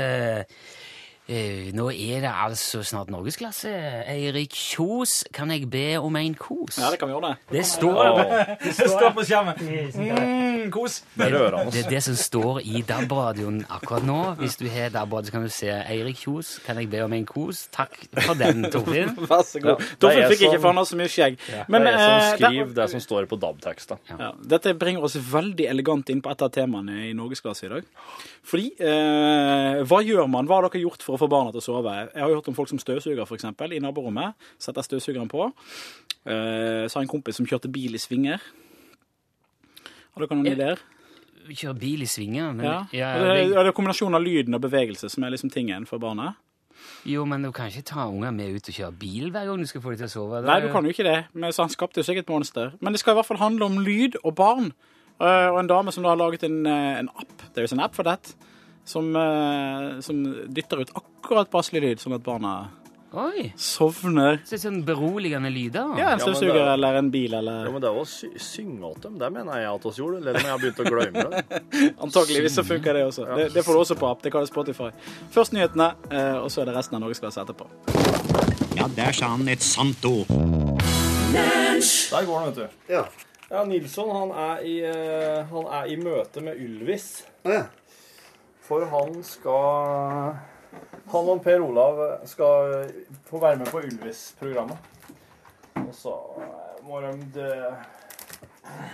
eh, Nå er det altså snart norgesklasse. Eirik Kjos, kan jeg be om en kos?
Ja, det kan vi gjøre det.
det står det.
Stå på skjermen. Mm, kos.
Det er rørende.
Det er det som står i DAB-radioen akkurat nå. Hvis du har DAB-radio, så kan du se Eirik Kjos. Kan jeg be om en kos? Takk for den, Torfinn.
Vær så god.
Ja, det
Torfinn
er
fikk
sånn-
ikke for han har så mye skjegg.
Men, det er sånn jeg som
eh, det-
skriver det som står på DAB-tekster.
Ja, dette bringer oss veldig elegant inn på et av temaene i Norgesklasse i dag. Fordi, eh, hva gjør man? Hva har dere gjort for å få barna til å sove? Jeg har hørt om folk som støvsuger, for eksempel, i naborommet. Setter støvsugeren på. Eh, så har jeg en kompis som kjørte bil i svinger. Har dere noen ideer?
Kjøre bil i svinger. Men,
Ja.
ja,
det,
det-
er- det er kombinasjonen av lyden og bevegelse som er liksom tingen for barna.
jo, men du kan ikke ta unger med ut og kjøre bil hver gang du skal få dem til å sove.
Nei, du kan jo ikke det. Men, så han skapte jo sikkert et monster. Men det skal i hvert fall handle om lyd og barn. Eh, og en dame som da har laget en, eh, en app, det er jo en app for det, som, eh, som dytter ut akkurat passelig lyd, sånn at barna
Oi!
sovner.
Så det er sånn beroligende lyder.
Ah, Ja, en
Ja, men
støvsuger
det-
eller en bil
Ja,
eller
men det å sy synge åt dem, det mener jeg at oss gjorde. Eller om jeg har begynt å glemme det.
Antakeligvis så funker det også. Det, det får du også på app. Det kalles Spotify. Først nyhetene, eh, og så er det resten av Norgesklasse etterpå.
Ja, der sa han et sant ord.
Der går han, vet du. Ja. Nilsson han er, i, eh, han er i møte med Ylvis. For han skal Han og Per Olav skal eh, få være med på Ylvis-programmet. Og så eh, må de eh,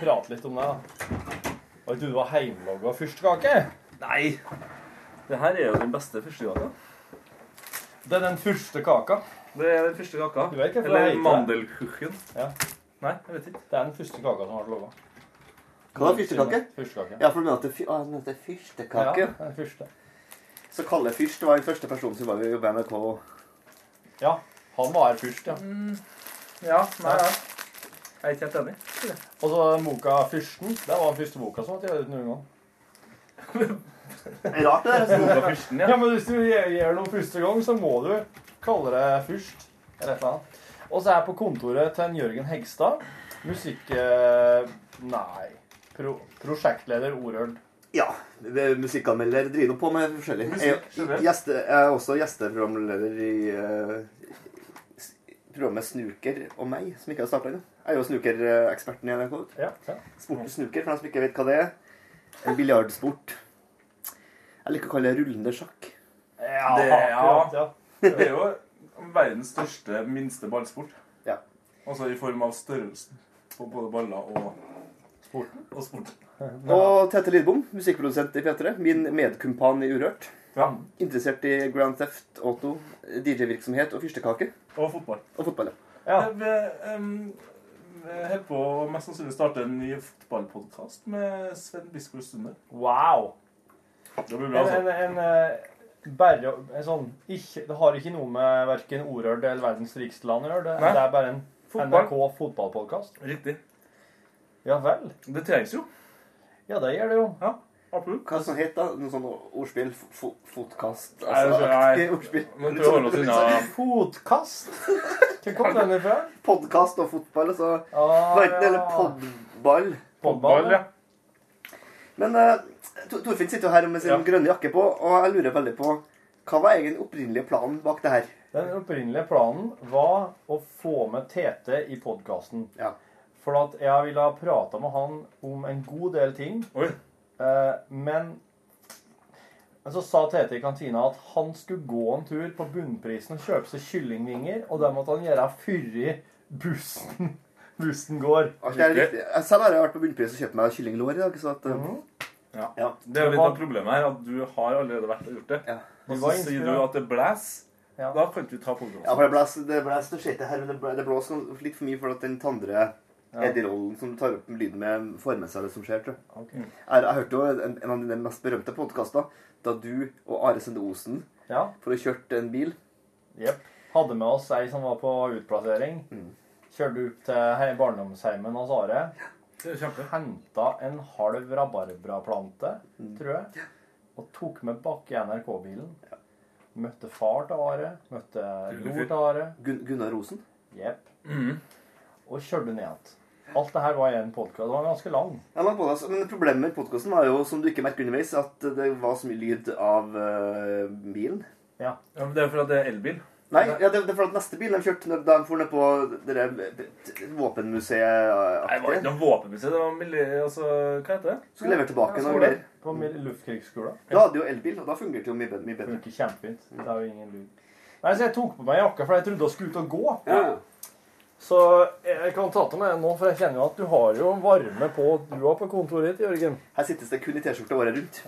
prate litt om det, da. Og du var heimlogga fyrstekake? Nei. Det her er jo den beste fyrstekaka. Det er den første kaka.
Det er den første kaka.
Du vet ikke hva det
Eller
heter.
mandelkuchen.
Ja.
Nei, jeg vet ikke.
Det er den første kaka som har vært laga.
Hva er fyrstekake?
Fyrstekake.
Ja, for du mener at det, fy- å, den heter fyrstekake.
Ja, den første.
Så Kalle Fyrst var den første personen som var i bandet på
Ja, han var her først, ja.
Ja, nei, ja. Jeg er ikke helt enig.
Og så den boka 'Fyrsten'. Det var den første boka som ble gitt ut noen gang.
Er Rart det der. altså.
Boka fyrsten,
Ja,
ja.
men hvis du gjør gjør noe første gang, så må du kalle det først. Eller et eller annet. Og så er jeg på kontoret til en Jørgen Hegstad. Musikk... eh, Nei. Pro prosjektleder Orøl.
Ja. det er Musikkanmelder driver nå på med forskjellig. Jeg,
generelt.
gjeste, jeg er også gjesteprogramleder i eh, s- programmet Snuker og meg, som ikke har starta ennå. Jeg er jo snukereksperten i NRK.
Ja, ja.
Sport og snuker, for dem som ikke vet hva det er. En biljardsport. Jeg liker å kalle det rullende sjakk.
Ja,
Det- ja.
akkurat, ja.
Det er jo verdens største minste ballsport.
Ja.
Altså i form av størrelsen på både baller og sporten. Og sporten.
Og Tete Lidbom, musikkprodusent i P3. Min medkumpan i Urørt.
Ja.
Interessert i Grand Theft Auto, DJ-virksomhet og fyrstekake.
Og fotball.
Og fotball. ja.
Ja.
Jeg vil, ehm, jeg holder på å mest sannsynlig starte en ny fotballpodkast med Sven Biskov Sunde.
Wow.
Det blir
En,
bra, altså.
en, en, eh, bare en sånn ikke, Det har ikke noe med verken Orøl eller Verdens rikeste land å gjøre. Det,
Nei.
det er bare en
Fotball.
NRK fotballpodkast.
Riktig.
Ja vel.
Det trengs jo.
Ja, det gjør det jo.
Ja, absolutt.
Hva som het da? Noe sånn ordspill? Fo- fo- Fotkast?
Nei, det
Altså,
skjønner jeg.
aktig ordspill.
Men prøv å holde oss unna
Fotkast? sånn Hvor kom den ifra?
Podkast og fotball, altså.
Ah,
Verden eller podball.
fotball, ja.
Men eh, Tor- Torfinn sitter jo her med sin
Ja.
grønne jakke på, og jeg lurer veldig på hva var egentlig den opprinnelige planen bak det her?
Den opprinnelige planen var å få med Tete i podkasten.
Ja.
For at jeg ville ha prata med han om en god del ting.
Oi.
Eh, men men så sa Tete i kantina at han skulle gå en tur på Bunnprisen og kjøpe seg kyllingvinger, og det måtte han gjøre før bussen
Bussen går.
Alt det er riktig. Jeg- Selv har jeg vært på bunnpris og kjøpt meg kyllinglår i dag, så at eh,
Mhm. Ja.
Ja.
Det er jo litt av problemet her, at du har allerede vært og gjort det. Og så
var
sier du
inspirert.
at det blæs. Da kan ikke du ta programmet.
Ja, for det blæs, det blæs det skjer ikke her, men det blæ- det blåser noe- litt for mye for at den tandre
Ja.
Eddie-rollen som tar opp lyden med, får med seg det som skjer, tror jeg.
Ok.
Mm.
Jeg, jeg hørte jo en, en av dine mest berømte podkaster, da du og Are Sende Osen
Ja.
for å kjørte en bil.
Jep. Hadde med oss ei som var på utplassering. Kjørte opp til he- barndomsheimen hos Are. Henta en halv rabarbraplante, tror jeg. Og tok med bak i NRK-bilen. Møtte far til Are. Møtte
Kul
bror
fyr.
til Are.
Gun Gunnar Osen.
Jepp.
Mm.
Og kjørte ned igjen. Alt det her var i en podkast. Den var ganske lang.
Jeg la på det, altså, men problemet med podkasten var jo, som du ikke merker underveis, at det var så mye lyd av eh, bilen.
Ja.
men det er fordi det er elbil.
Nei, ja, det, det er for at neste bil de kjørte når- da de for ned på det der eh, våpenmuseet
Nei, det var ikke noe våpenmuseum. Det var milli... Altså, hva heter det?
Skulle levere tilbake noen
skole.
greier.
På mil- luftkrigskula.
Da hadde jo elbil, og da fungerte det jo mye bedre. Mye bedre.
Funker kjempefint. Det er jo ingen lyd. Nei, så jeg tok på meg jakka, for jeg trodde jeg skulle ut og gå. Så jeg kan ta til meg den nå, for jeg kjenner jo at du har jo varme på du har på kontoret ditt, Jørgen.
Her sittes det kun i T-skjorte året rundt.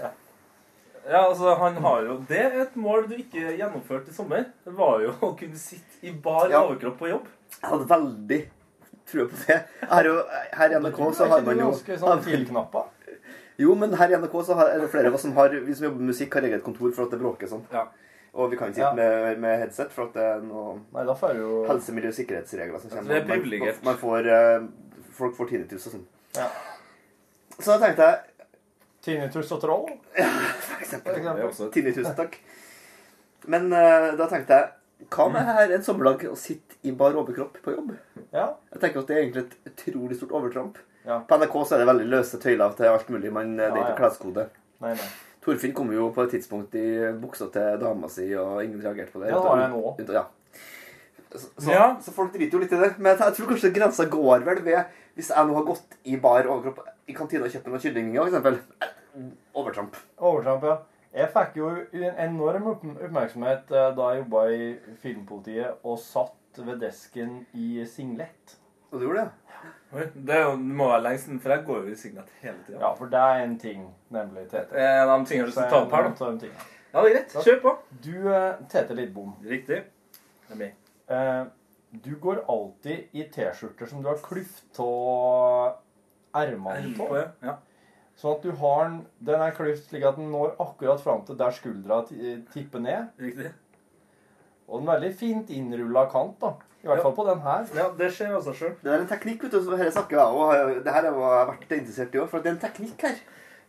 Ja, altså, han har jo Det er et mål du ikke gjennomførte i sommer. Det var jo å kunne sitte i bar
Ja.
overkropp på jobb.
Jeg hadde veldig trua på det. Her, er jo, her i NRK så har man jo
ganske sånn filknappa.
Jo, men her i NRK så har, er det flere av oss som har Vi som jobber med musikk, har eget kontor for at det bråker sånn. Og vi kan ikke sitte
Ja.
med, med headset for at det er noe
Nei, da får jeg jo
helse, miljø og sikkerhetsregler som
Ja, så
kommer.
Altså, det er
Man-
privilegert.
Man, man får eh, Folk får tinnitus og sånn.
Ja.
Så da tenkte jeg
Tinnitus og troll?
For
For eksempel. Det er også
eksempel.
et-
Tinnitus, takk. Men eh, da tenkte jeg Hva
Mm.
med her en sommerdag å sitte i bar overkropp på jobb?
Ja.
Jeg tenker at det er egentlig et utrolig stort overtramp.
Ja.
På NRK så er det veldig løse tøyler til alt mulig. Man, det er
Ja, ja.
ikke kleskode.
Nei, nei.
Torfinn kom jo på et tidspunkt i buksa til dama si, og ingen reagerte på det.
Det har jeg nå.
Unntatt- Ja. Så, så, så folk driter jo litt i det. Men jeg tror kanskje grensa går vel ved Hvis jeg nå har gått i bar overkropp i kantina og kjøpt meg noen kyllinger, f.eks. Overtramp.
Overtramp, ja. Jeg fikk jo en enorm opp- oppmerksomhet eh, da jeg jobba i Filmpolitiet og satt ved desken i singlet.
Og du gjorde det?
Oi, Det er jo- det må være lenge siden, for jeg går jo i Signet hele tida.
Ja, for det er en ting, nemlig, Tete.
En av de tingene du
Så
skal
jeg
ta opp her,
må
da.
ta en ting.
Ja, det er greit. Kjør på.
Du, eh, Tete Lidbom.
Riktig. Det er meg.
Eh, du går alltid i T-skjorter som du har klyft av ermene
Ermer
på.
på, ja. Ja.
Sånn at du har den, den er klyft slik at den når akkurat fram til der skuldra ti- tipper ned.
Riktig.
Og en veldig fint innrulla kant, da. I hvert fall på den her.
Ja, det skjer altså av seg sjøl.
Det er en teknikk, vet du, som dette snakker jeg om. og Det her har jeg vært interessert i òg, for det er en teknikk her.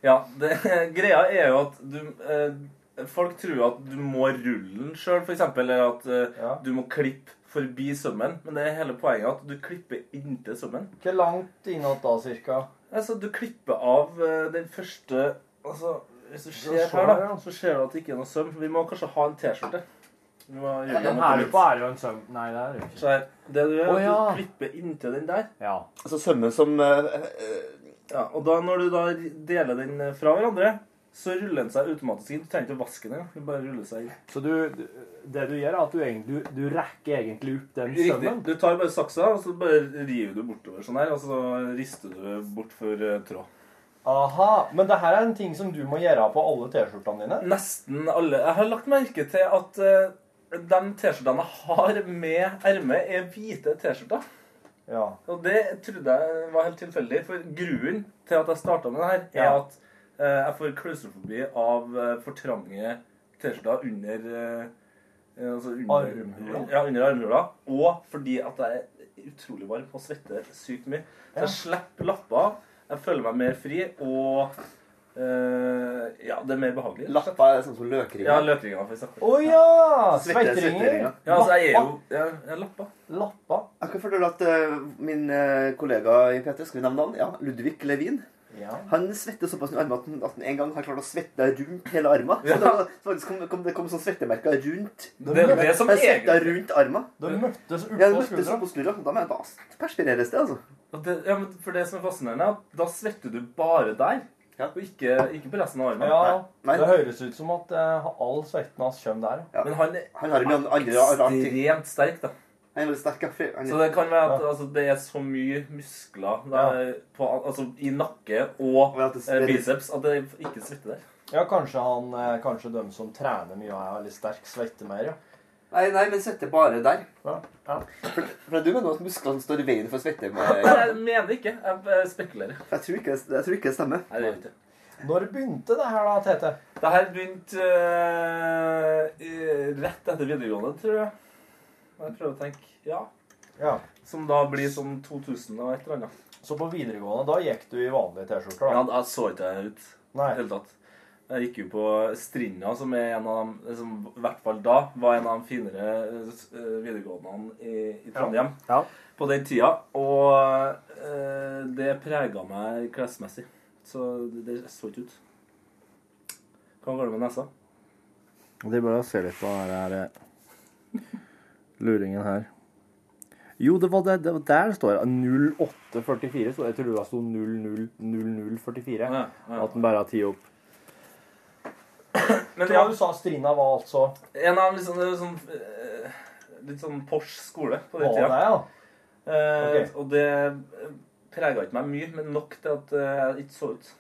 Ja, det, greia er jo at du eh, Folk tror jo at du må rulle den sjøl, f.eks., eller at eh, du må klippe forbi sømmen. Men det er hele poenget at du klipper inntil sømmen.
Ikke langt innåt da, cirka.
Altså, du klipper av eh, den første Altså, hvis du ser
så
her, da,
her, ja.
så ser du at det ikke er noe søm. Vi må kanskje ha en T-skjorte. Vi må gjøre
Den
noe
her
nytt.
oppe er jo en søm... Nei, det er jo ikke.
Så her, det du gjør,
Å,
er at
ja.
du klipper inntil den der.
Ja.
Altså sømmen som
eh, Ja, og da når du da deler den eh, fra hverandre, så ruller den seg automatisk inn. Du trenger ikke å vaske den engang. Den bare ruller seg inn.
Så du, det du gjør, er at du, egentlig- du, du rekker egentlig opp den
Riktig.
sømmen?
Du tar bare saksa, og så bare river du bortover sånn her, og så rister du bort for eh, tråd.
Aha. Men det her er en ting som du må gjøre på alle T-skjortene dine?
Mm.
Nesten alle. Jeg har lagt merke til at eh, de T-skjortene jeg har med erme, er hvite T-skjorter.
Ja.
Og det trodde jeg var helt tilfeldig, for grunnen til at jeg starta med det her, er
Ja.
at eh, jeg får klaustrofobi av eh, for trange T-skjorter under eh, eh, altså under,
Armhula?
Ja, under armhula. Og fordi at jeg er utrolig varm og svetter sykt mye. Så
Ja.
jeg slipper lapper. Jeg føler meg mer fri, og eh, ja, det er mer behagelig. rett og slett.
Lappa er sånn som løkringer.
Ja, løkringer, for eksempel.
Å ja!
Svette-
Svetteringer.
svetteringer.
Ja, altså, jeg er jo jeg, jeg er lappa.
Lappa.
Jeg kan fortelle at eh, min eh, kollega i PT, skal vi nevne han? Ja, Ludvig Levin.
Ja.
Han svetter såpass med armene at han- at han en gang har klart å svette rundt hele armen. Så
Ja.
det, var- så faktisk kom, kom, det kom sånn svettemerker rundt.
Det er jo det som
Han svetta
egentlig-
rundt armen.
De møttes oppå
Ja, de møttes
skuldra.
oppå skuldra. Da må jeg da perspireres det, altså.
Og Det, ja, men for det som er fascinerende, er at da svetter du bare der, og ikke, ikke på resten av armen.
Ja, Det høres ut som at eh, all svetten hans kommer der.
Men han,
har en andre- andre ting.
ekstremt sterk, da.
Han er veldig sterk. han er- han er-
Så det kan være at altså, det er så mye muskler der, på, altså, i nakke og eh, biceps at det ikke svetter der.
Ja, kanskje han eh, Kanskje de som trener mye og er veldig sterk svetter mer, ja.
Nei, nei, men svette bare der. For, for du mener at musklene står i veien for svette? Med,
Nei, jeg mener ikke. Jeg eh, spekulerer.
Jeg, tror ikke, jeg tror ikke det stemmer.
Nei, det vet jeg.
Når begynte det her, da, Tete?
Det her begynte eh, i- rett etter videregående, tror jeg. Må Jeg prøver å tenke. Ja. Som da blir sånn 2000 og et eller annet.
Så på videregående, da gikk du i vanlige T-skjorter, da?
Ja, da så ikke jeg ut.
Nei.
I det hele tatt. Jeg gikk jo på Strinda, som er en av de, som i hvert fall da var en av de finere eh, videregående i, i Trondheim.
Ja.
På den tida. Og eh, det prega meg klesmessig. Så det, det så ikke ut. Hva går det med nesa?
De bør se litt på den her eh, luringen her. Jo, det var det, det var der det står 0844. Så jeg trodde det sånn sto 000044. At den bare har ti opp.
Men
Men
ja.
du sa Strina var altså
En av liksom, det er sånn, eh, litt sånn Porsch skole på
Å,
den tida.
det er, ja.
Eh,
Ok.
Og det prega ikke meg mye, men nok til at eh, jeg ikke så ut.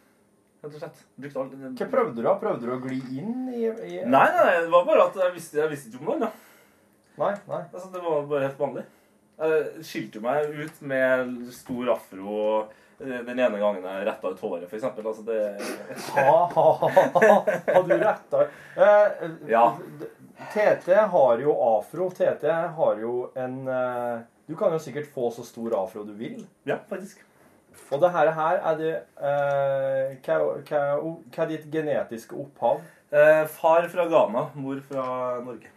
Rett og slett. Brukte alt.
Hva prøvde du da? Prøvde du å gli inn i, i
Nei, nei, nei, det var bare at jeg visste, jeg visste ikke om noe annet.
Nei, nei.
Altså, det var bare helt vanlig. Jeg skilte meg ut med stor afro og eh, den ene gangen jeg retta ut håret, f.eks. Altså, det
Ha, ha, ha, ha. Har du retta eh,
Ja.
TT har jo afro. TT har jo en eh, Du kan jo sikkert få så stor afro du vil.
Ja, faktisk.
Og det her, her er det eh, hva, hva, hva er ditt genetiske opphav?
Eh, far fra Ghana, mor fra Norge.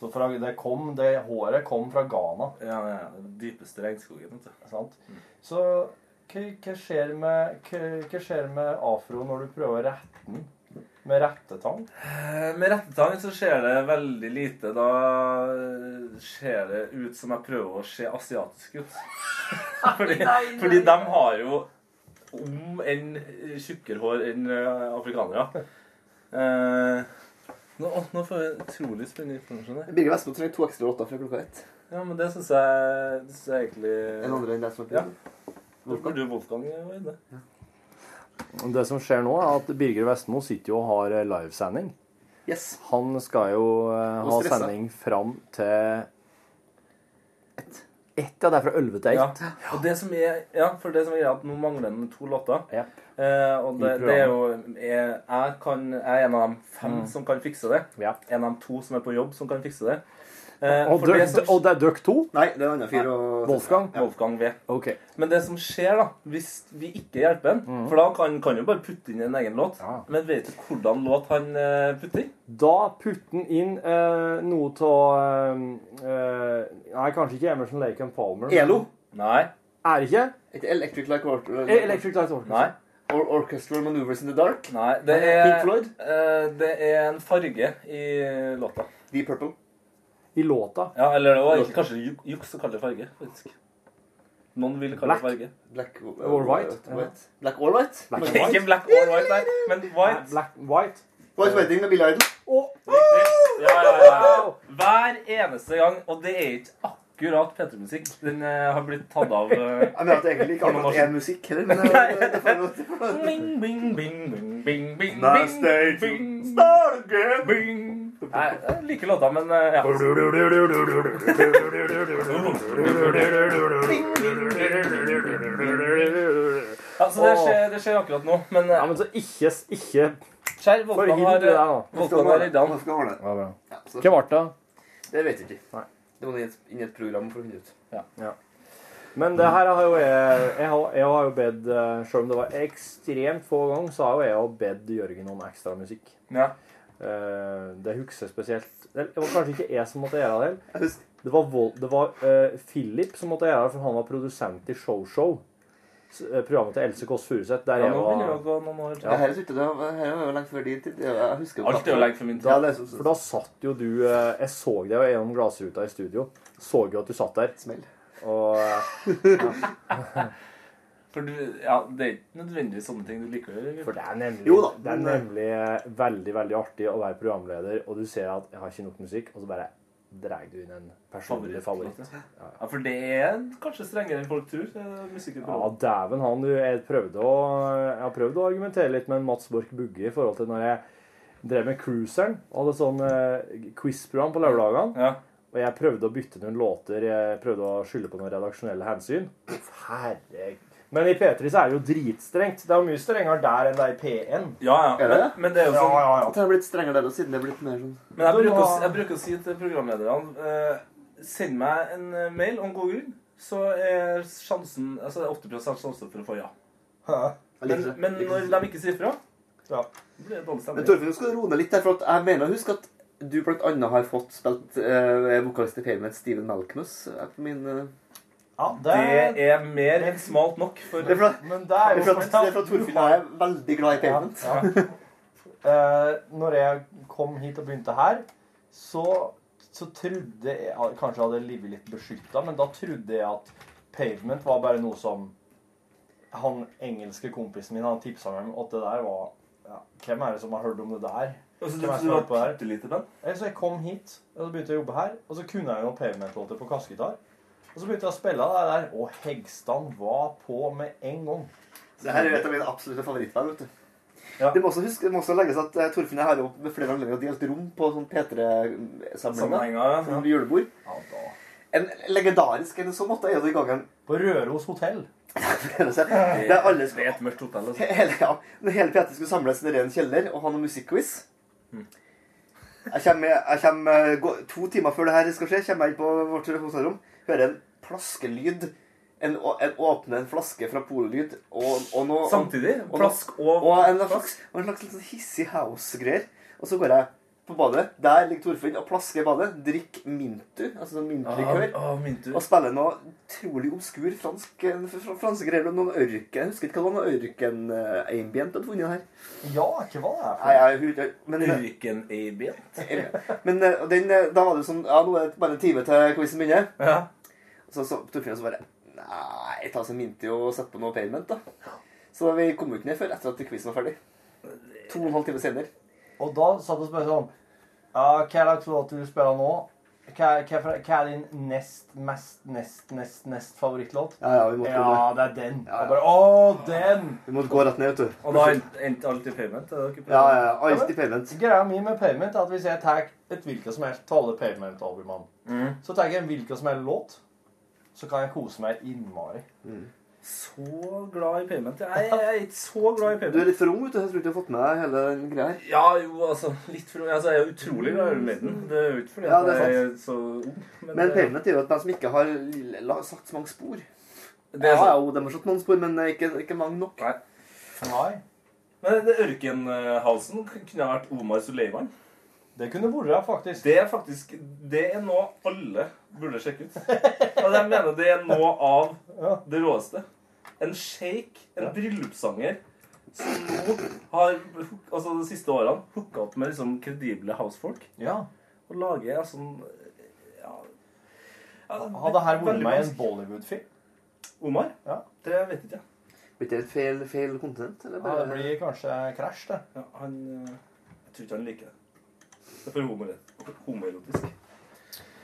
Så fra, det, kom, det håret kom fra Ghana.
Ja, ja, ja, den dypeste regnskogen. Vet du. Mm.
Sant? Så hva, hva, skjer med, hva, hva skjer med afro når du prøver å rette den med rettetang?
Eh, Med rettetang så skjer det veldig lite. Da eh, ser det ut som jeg prøver å se asiatisk ut. Fordi,
Nei, nei,
fordi de
nei.
har jo om enn tjukkere hår enn eh, afrikanere. Eh, nå, å, nå får jeg utrolig spennende informasjon her.
Birger Vestmo trenger to ekstra låter fra klokka ett.
Ja, men det syns jeg, det synes jeg egentlig
En andre enn deg som har prøvd?
Da burde jo Wolfgang være inne.
Det som skjer nå, er at Birger Vestmo sitter jo og har eh, livesending.
Yes.
Han skal jo eh,
Og
ha
stressa.
sending fram til ett. Ett, ja. Det er fra elleve til ett.
Ja. Og det som er, ja, for det som er greia, at nå mangler den to låter. Eh, og det,
I programmet.
det er jo jeg, jeg, kan, jeg er en av de fem
Mm.
som kan fikse det. En av de to som er på jobb, som kan fikse det. Eh,
Og
for
dere-
det som-
og det er dere to?
Nei, det er en annen fyr og
Wolfgang?
Wolfgang V.
Ok.
Men det som skjer, da, hvis vi ikke hjelper han For da kan kan jo bare putte inn en egen låt. Men vet du hvordan låt han eh, putter i?
Da putter han inn eh, noe av Nei, kanskje ikke Emerson Lake and Palmer.
Elo?
Nei.
Er det ikke? E-
Et Electric Light Orchestra?
Electric Light Orchestra.
Nei.
Or Orchestral Maneuvers in the Dark?
Nei, Det er,
Pink Floyd?
eh, det er en farge i låta.
Deep Purple?
I låta?
Ja, eller det var ikke, kanskje ju- juks å kalle det farge, faktisk. Noen vil kalle det farge.
Black
or white?
white. Black or white?
Black or Ikke black or white, nei, men white.
Black, white.
White Wedding med Billie Idol.
Ja, ja, ja. Hver eneste gang, og det er ikke akkurat P3-musikk. Den eh, har blitt tatt av eh,
Jeg mener at det egentlig ikke
for noen
akkurat
år
er
siden.
musikk heller, men eh, det får lov
Bing, bing, bing, bing, bing, bing,
Nei,
bing,
stay
bing.
Start again!
Bing. Nei, jeg liker låta, men eh, ja. Altså, det skjer, det skjer akkurat nå, men Ja,
men så ikke, ikke
Skjerv,
Forhild
Wolfgang har
det der, da.
Wolfgang har redda han.
Ja, bra.
så-
Hva ble det?
Det vet jeg ikke. Det må inn i et- inn i et program for å finne ut.
Ja. Men det her har jo jeg Jeg har, jeg har jo bedt eh, Selv om det var ekstremt få ganger, så har jo jeg også bedt Jørgen om ekstra musikk.
Ja.
Eh, det husker jeg spesielt Vel, Det var kanskje ikke jeg som måtte gjøre det. eller? Det var, Vol det var eh, Philip som måtte gjøre det, for han var produsent i Show-Show. s- eh, Programmet til Else Kåss Furuseth. Der
Ja,
jeg
nå begynner det å
var
gå noen år.
Det her er ikke det, her er jo lenge før din tid. Jeg jeg husker
Alt er jo lenge før min tid.
Ja, det er som
For da satt jo du eh, Jeg så deg jo gjennom glassruta i studio. Så jo at du satt der.
Smell.
Og eh,
For du, ja, det er ikke nødvendigvis sånne ting du liker å gjøre.
For det er nemlig,
Jo da,
det er eh,
men-
nemlig eh, veldig veldig artig å være programleder, og du ser at jeg har ikke nok musikk, og så bare drar du inn en personlig favoritt.
Favoritt, ja. Ja, for det er kanskje strengere enn folk tror. eh, Musikken på
Ja,
radioen.
dæven han, du. Jeg prøvde å, jeg har prøvd å argumentere litt med en Mats Borch Bugge i forhold til når jeg drev med Cruiseren og hadde sånn eh, quiz-program på lørdagene. Og jeg prøvde å bytte noen låter. Jeg prøvde å skylde på noen redaksjonelle hensyn. Herregud. Men i P3 så er det jo dritstrengt. Det er jo mye strengere der enn det er i P1.
Er det?
Ja, ja, ja.
Det har blitt strengere der, og siden det har blitt mer sånn
sånn- Men jeg bruker, å, si- jeg bruker å si til programlederne eh, Send meg en eh, mail om god grunn, så er sjansen altså det er 80 sjanse for å få ja.
Jeg
Men,
liker det.
men
Jeg liker
når
det.
de ikke sier fra, det blir det dårlig
Men
stemning.
Torfinn, nå skal du roe ned litt der, for at jeg mener å huske at du blant annet har fått spilt eh, vokalist i Payment Steven Malkmus. eh, på Min, eh,
Det er mer enn smalt nok for
Det er fra-
Men det er jo
det er fra, det er fra Torfinn jeg er veldig glad i Payment.
Ja, ja. Eh, når jeg kom hit og begynte her, så, så trodde jeg Kanskje jeg hadde livet litt beskytta, men da trodde jeg at pavement var bare noe som han engelske kompisen min han tipsa meg om at det der var ja, Hvem er det som har hørt om det der?
Altså, du
Hvem er det som har
trodde det
hørt
var
på det her?
bitte lite,
Eh, Så jeg kom hit, og så begynte jeg å jobbe her, og så kunne jeg noen pavement-låter på kassegitar. Og så begynte jeg å spille det der, og Hegstand var på med en gang.
Det her er et av mine absolutte favorittvær, vet du. Det, må også huske, det må også legges at eh, Torfinn og jeg har jo ved flere anledninger delt rom på sånn
Sammenhenger,
P3-samlinger.
ja.
Sånn julebord. En legendarisk en i så måte er jo den gangen
På Røros hotell.
Det er alle
Det er et mørkt hotell. altså.
Hele, ja, når hele P3 skulle samles nede i en kjeller og ha noen musikkquiz.
Mm.
Jeg kommer, jeg kommer eh, gå- to timer før det her skal skje, kommer jeg inn på vårt hotellrom, hører en plaskelyd. En, å- en åpne en flaske fra Pollyd og, og noe
Samtidig?
og noe-
Plask og-
og en slags, og en slags litt sånn hissig house-greier. Og så går jeg på badet. Der ligger Torfinn og plasker i badet. Drikker Mintu, altså sånn mintlikør.
Ah, ah, Mintu.
og spiller noe utrolig obskur fransk fr- franske greier. Noen ørken Jeg husker ikke hva det var noe ørken-ambient hadde funnet her.
Ja, ikke hva det er.
Nei, jeg, husker ikke, men,
Ørken-ambient?
Men eh, og den, eh, da var det jo sånn Ja, nå er det bare en time til quizen begynner. Og så, så Torfinn så bare Nei, ta seg Mintu og sett på noe payment, da. Så vi kom jo ikke ned før etter at quizen var ferdig. To og en halv time senere.
Og da satt og spurte sånn «Ja, Hva slags låt vil du spille nå? Hva, hva, fra- hva er din nest, mest, nest, nest, nest favorittlåt?
Ja, ja, vi måtte
ja,
gå
det er den. Og bare, Å, den!
Vi måtte gå rett ned, vet du.
Og da endte alt i payment? er det ikke
Ja, ja, ja,
Ja,
alltid
men
payment.
Greia mi med payment er at hvis jeg tar et hvilket som helst tale payment-albumene,
Mm.
Mhm.
så tar jeg en hvilken som helst låt, så kan jeg kose meg innmari.
Så glad i payment. Jeg, jeg er ikke så glad i payment.
Du er litt for ung, vet du. Jeg tror ikke du har fått med deg hele den greia her.
Ja, jo, altså Litt for altså, Jeg er utrolig glad i Iron Maiden. Det er jo ikke fordi
Ja,
at
det er
jeg er
sant.
så ung.
Men,
det-
Pavement er jo et band som ikke har l- la- satt så mange spor.
Det er
ja,
sant.
jo, de har satt noen spor, men ikke, ikke mange nok.
Nei.
Men det Ørkenhalsen kunne ha vært Omar Suleiman.
Det kunne vært, faktisk.
Det er faktisk Det er noe alle burde sjekke ut. Og jeg mener det er noe av det råeste. En sjeik, en bryllupssanger, som nå har altså de siste årene hooka opp med liksom kredible housefolk.
Ja.
Og lager altså en- ja,
Hadde her vært
veldig
med i en
vanskelig.
Bollywood-film?
Omar?
Ja.
Det vet ikke jeg.
Blir det et feil, feil kontinent? Eller
Ja,
bare
det blir kanskje krasj, det.
Ja, han eh, Jeg tror ikke han liker det. Det er for homo- homoerotisk.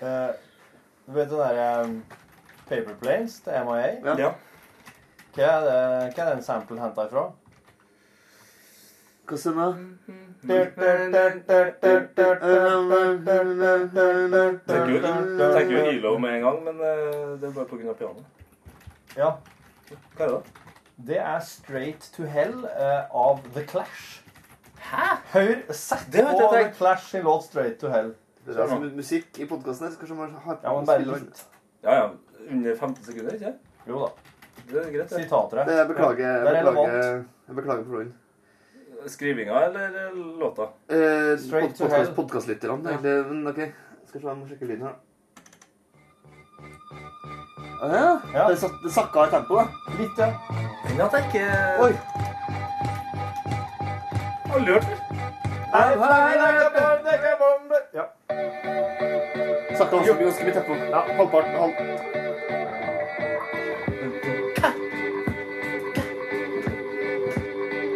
Eh, du vet den derre um, Paper Planes til MIA?
Ja. Ja.
Hva er, det, hva er den samplen henta ifra?
Hva som er
Tenker jo,
Eh,
tenker jo ILO med en gang, men eh, det er bare pga. pianoet.
Ja.
Hva er det?
Det er Straight to Hell eh, av The Clash. Hæ? Hør, sett
Det
på
hørte jeg
The
tenkt.
Clash sin låt Straight to Hell.
Det er altså musikk i podkasten her. så Kanskje man har
Ja, men bare litt.
Ja, ja. Under 15 sekunder, ikke sant?
Jo da.
Det er greit. det.
Sitater
Det, Eh, jeg beklager.
Ja,
Jeg
det er
beklager,
relevant.
jeg beklager for Eh, den.
Skrivinga eller eh, låta?
Eh,
Straight to
podcast,
hell.
Podkastlytterne, egentlig. Men OK, skal se om jeg sjekker lyden her. Ah, ja. Det, satt, det sakka i tempo, da.
Litt, ja.
Men at jeg ikke
Oi.
har lurt meg.
Ja.
Sakka ganske ganske mye tempo. Ja, halvparten. Halv...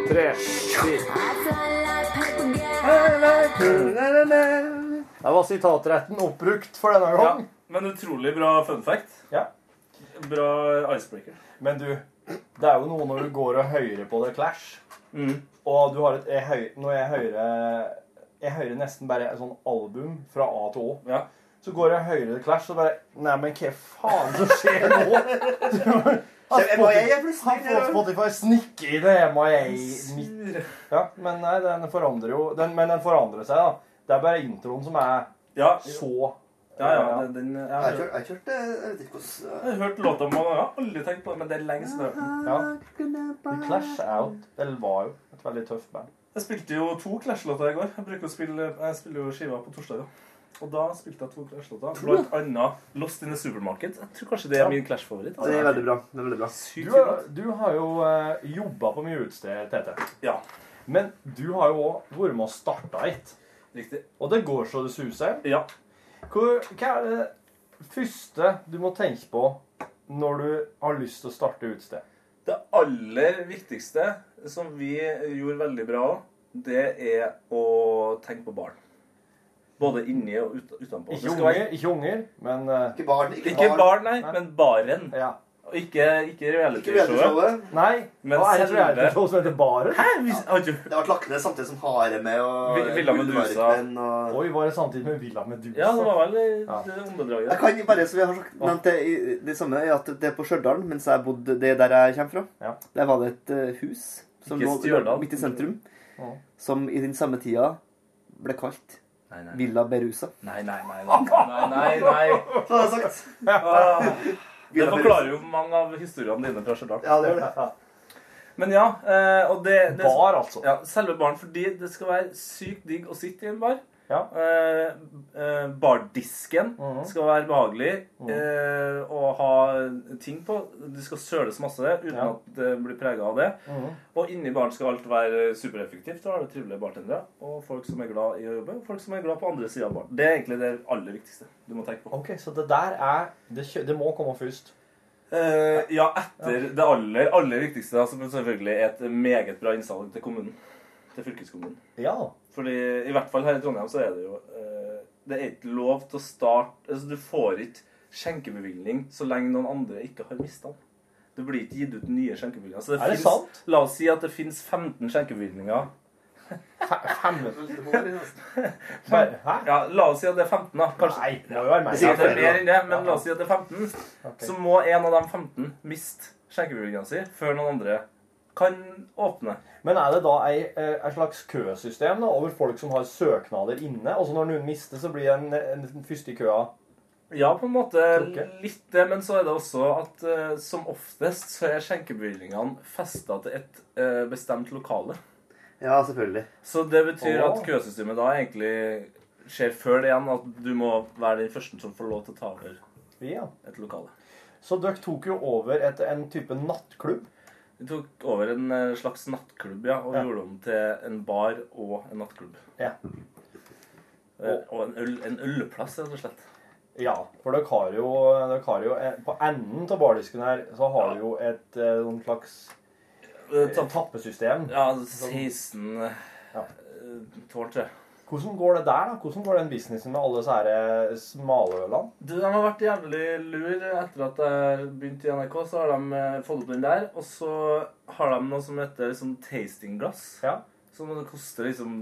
Tre.
Ja,
Der var sitatretten oppbrukt for denne gang.
Men utrolig bra fun fact.
Ja.
Bra icebreaker.
Men du, det er jo noe når du går og hører på The Clash,
Mm.
og du har et jeg høy, Når jeg hører Jeg hører nesten bare et sånn album fra A til Å. Så går jeg og hører The Clash, og bare Nei, men hva faen som skjer nå? Har
Se, MIA er
Spotify,
plutselig-
har fått Spotify snikke i det MIA Ja, men nei, den forandrer jo den, Men den forandrer seg, da. Det er bare introen som er så
Ja, ja, den- den- jeg har-
Jeg kjørte, jeg kjørte Jeg vet ikke hvordan
Jeg har hørt låta mange ganger. Aldri tenkt på det, men det er lenge siden jeg har hørt den.
The Clash er jo Eller var jo et veldig tøft band.
Jeg spilte jo to Clash-låter i går. Jeg bruker å spille, jeg spiller jo skiva på torsdager. Og da spilte jeg to Clash-låter.
To, ja.
Blant annet Lost in the Supermarket. Jeg tror kanskje det er
Ja.
min Clash-favoritt.
Ja, det er veldig bra.
Det er veldig bra.
Du, har- du har jo uh, jobba på mye utested, Tete.
Ja.
Men du har jo òg vært med og starta et.
Riktig.
Og det går så det suser.
Ja.
Hvor, hva er det første du må tenke på når du har lyst til å starte utested?
Det aller viktigste som vi gjorde veldig bra òg, det er å tenke på barn. Både inni og ut, utenpå. Det
Ikke
skal
unger,
være-
ikke unger, men eh,
Ikke barn,
Ikke barn, nei, men baren. Og ikke, ikke realityshowet.
Nei.
Men
Hva er det
selve-
realityshowet som heter Baren?
Det var Klakne samtidig som Haremet og
Vi- Villa Medusa.
Gullvarpen og-
Oi, var det samtidig med Villa Medusa?
Ja, det var vel det åndedraget.
Jeg kan bare, som jeg har sagt, nevnt det, i- det samme er at det er på Stjørdal, mens jeg bodde det er der jeg kommer fra. Der var det et eh, hus som
Ikke
lå
Stjørdal.
midt i sentrum,
Ja.
som i den samme tida ble kalt
Nei, nei.
Villa Berusa.
Nei, nei, nei. Nei, nei, nei.
Så har jeg sagt.
Ah, Det forklarer jo mange av historiene dine fra Stjørdal.
Ja, det gjør det.
Men ja, eh, og det, det
Bar, altså.
Ja, selve baren. Fordi det skal være sykt digg å sitte i en bar. Eh, eh, bardisken
Mhm.
skal være behagelig eh, å ha ting på. Du skal søles masse uten
Ja. Mhm.
at det blir prega av det. Og inni baren skal alt være supereffektivt. Da har du trivelige bartendere og folk som er glad i å jobbe, og folk som er glad på andre sida av baren. Det er egentlig det aller viktigste du må tenke på.
Ok, Så det der er Det, kjø det må komme først.
Eh, ja, etter det aller, aller viktigste, da, som selvfølgelig er et meget bra innsalg til kommunen. Til fylkeskommunen.
Ja.
Fordi i hvert fall her i Trondheim så er det jo eh, Det er ikke lov til å starte altså Du får ikke skjenkebevilgning så lenge noen andre ikke har mista den. Det blir ikke gitt ut nye skjenkebevilgninger. Så
Er det
finnes-
sant?
La oss si at det fins 15 skjenkebevilgninger. Ja, la oss si at det er 15, da. Kanskje.
Nei, det må jo være
Ja,
meg.
det er mer enn det, men la oss si at det er 15. Så må en av de 15 miste skjenkebevilgningen sin før noen andre kan åpne.
Men er det da ei, eh, ei slags køsystem da, over folk som har søknader inne? Og så når noen mister, så blir den, en- den første i køa
Ja, på en måte
Trukket.
litt det, men så er det også at eh, som oftest så er skjenkebevilgningene festa til et eh, bestemt lokale.
Ja, selvfølgelig.
Så det betyr
Åh.
at køsystemet da egentlig skjer før det igjen, at du må være den første som får lov til å ta over
Ja.
et lokale.
Så dere tok jo over et, en type nattklubb.
Vi tok over en eh, slags nattklubb, ja, og gjorde om til en bar og en nattklubb.
Ja.
Eh, Og en, øl, en ølplass, rett og slett.
Ja, for dere har jo, dere har jo eh, På enden av bardisken her så har dere jo et eh, noen slags eh, tappesystem.
Ja, 16 eh, tårn, tror jeg.
Hvordan går det der, da? Hvordan går den businessen med alle disse her, eh, smalølene?
Du, De har vært jævlig lur etter at jeg begynte i NRK. Så har de eh, fått opp den der. Og så har de noe som heter liksom, tastingglass. Som det koster liksom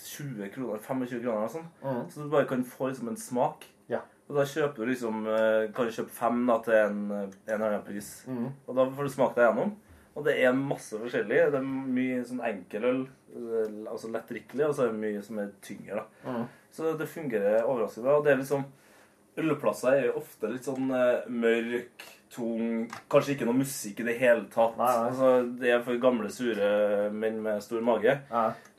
20 kroner, 25 kroner og sånn.
Mhm.
Så du bare kan få liksom en smak.
Ja.
Og da kjøper du liksom eh, Kan du kjøpe fem da til en, eh, en eller annen pris.
Mhm.
Og da får du smake deg gjennom. Og det er masse forskjellig. Det er mye sånn enkeløl, eh, altså lettdrikkelig, og så er det mye som er tyngre. da.
Mhm.
Så det fungerer overraskende bra. Og det er liksom Ølplasser er jo ofte litt sånn eh, mørk, tung Kanskje ikke noe musikk i det hele tatt. Altså, det er for gamle, sure menn med stor mage.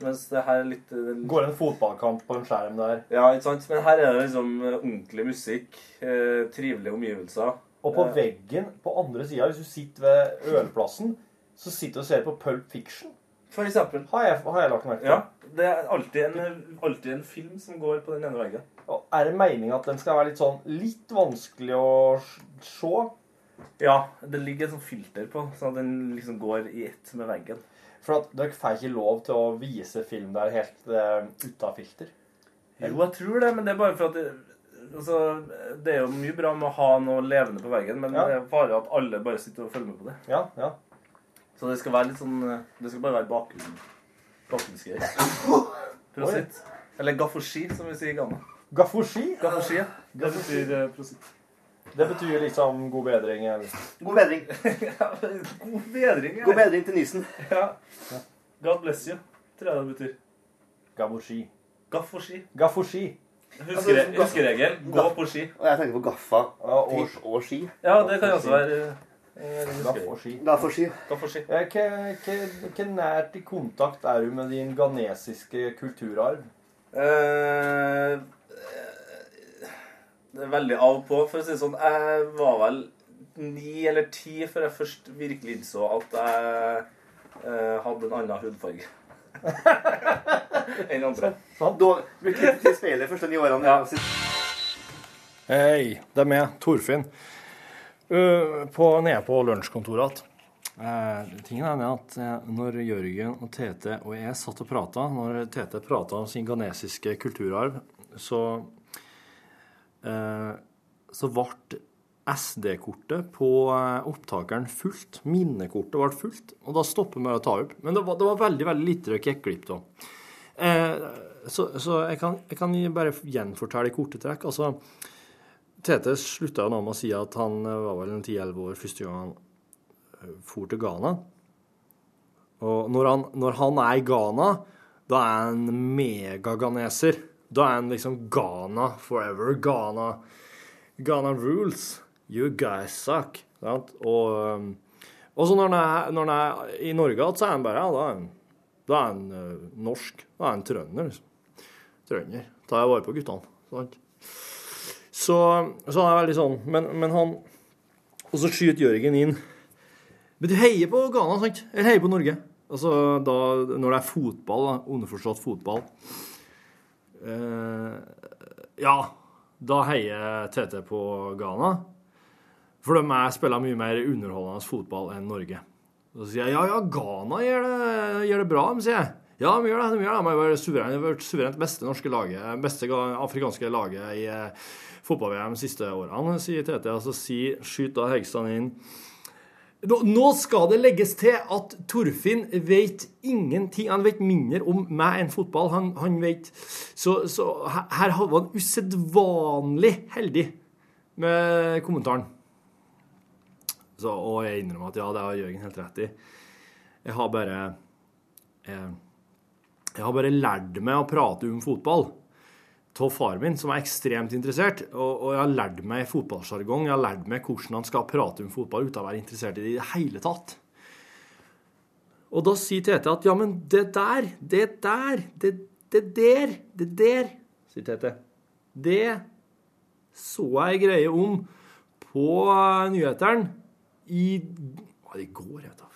Mens det her er litt eh,
Går en fotballkamp på en skjerm der?
Ja, ikke sant? Men her er det liksom eh, ordentlig musikk. Eh, trivelige omgivelser.
Og på
Eh,
veggen på andre sida, hvis du sitter ved ølplassen, så sitter du og ser på Pulp Fiction.
For eksempel.
Har jeg, har jeg lagt merke til.
Ja. Det er alltid en, alltid en film som går på den ene veggen.
Og er det meninga at den skal være litt sånn litt vanskelig å s- se?
Ja. Det ligger et sånt filter på, så den liksom går i ett med veggen.
For at dere får ikke lov til å vise film der helt uh, uten eh, filter.
Jo, jeg tror det, men det er bare for at det, altså, det er jo mye bra med å ha noe levende på veggen, men
Ja.
det er fare at alle bare sitter og følger med på det.
Ja, ja.
Så det skal være litt sånn eh, Det skal bare være bakgrunn, bakgrunnsgreier. Prosit. Eller gaffoski, som vi sier i Ghana.
Gaffoski?
Gaffoski, ja. Det betyr eh, prosit.
Det betyr liksom god bedring. eller?
God bedring.
God bedring.
God bedring til nisen.
Ja. God bless you, tror jeg det betyr.
Gaffoski.
Gaffoski.
Gaffoski.
Huskere,
Altså,
huskeregel gå på ski.
Og jeg tenker på gaffa
og-
Tenk- og ski.
Ja, det kan jo også være eh,
Gaff og ski.
Gaffaski.
Eh, Hva hva- hva nært i kontakt er du med din ghanesiske kulturarv?
Eh, Det er veldig av og på, for å si det sånn. Jeg var vel ni eller ti før jeg først virkelig innså at jeg eh, hadde en annen hudfarge enn andre.
Da blir klippet til speilet første ni årene.
Hei, det er meg, Torfinn. Uh, på, nede på lunsjkontoret igjen. Eh, tingen er det at eh, når Jørgen og Tete og jeg satt og prata, når Tete prata om sin ghanesiske kulturarv, så eh, Så ble SD-kortet på eh, opptakeren fullt. Minnekortet ble fullt. Og da stopper vi å ta opp. Men det var, det var veldig veldig lite dere gikk glipp av. Eh, så så jeg, kan, jeg kan bare gjenfortelle i korte trekk. altså... Tete slutta jo nå med å si at han eh, var vel en 10-11 år første gang han eh, for til Ghana. Og når han, når han er i Ghana, da er han megaghaneser. Da er han liksom Ghana forever. Ghana, Ghana rules. You guys suck. Sant? Og, eh, og så når han, er, når han er i Norge igjen, så er han bare ja, da er han, da er han eh, norsk. Da er han trønder, liksom. Trønder. Tar jeg vare på guttene. Sant? Så, så han er veldig sånn Men, men han Og så skyter Jørgen inn Men du heier på Ghana, sant? Eller heier på Norge? Altså da Når det er fotball, da. Underforstått fotball. Eh, ja. Da heier TT på Ghana. For de er- spiller mye mer underholdende fotball enn Norge. Og så sier jeg ja, ja, Ghana gjør det, gjør det bra, de sier jeg. Ja, de gjør det. de gjør det. De er jo suverent, de har vært suverent beste norske laget, beste ga- afrikanske laget i eh, fotball-VM de siste årene, sier Tete. Og så sier, skyter altså, da Hegstad inn nå, nå skal det legges til at Torfinn vet ingenting. Han vet mindre om meg enn fotball. Han, han vet Så, så her, her var han usedvanlig heldig med kommentaren. Så, og jeg innrømmer at ja, det har Jørgen helt rett i. Jeg har bare eh, Jeg har bare lært meg å prate om fotball av far min, som er ekstremt interessert. Og, og jeg har lært meg fotballsjargong. Jeg har lært meg hvordan han skal prate om fotball uten å være interessert i det i det hele tatt. Og da sier Tete at ja, men det der, det der, det, det der, det der, sier Tete. Det så jeg greie om på eh, nyheteren i Hva er det i går, jeg vet da faen.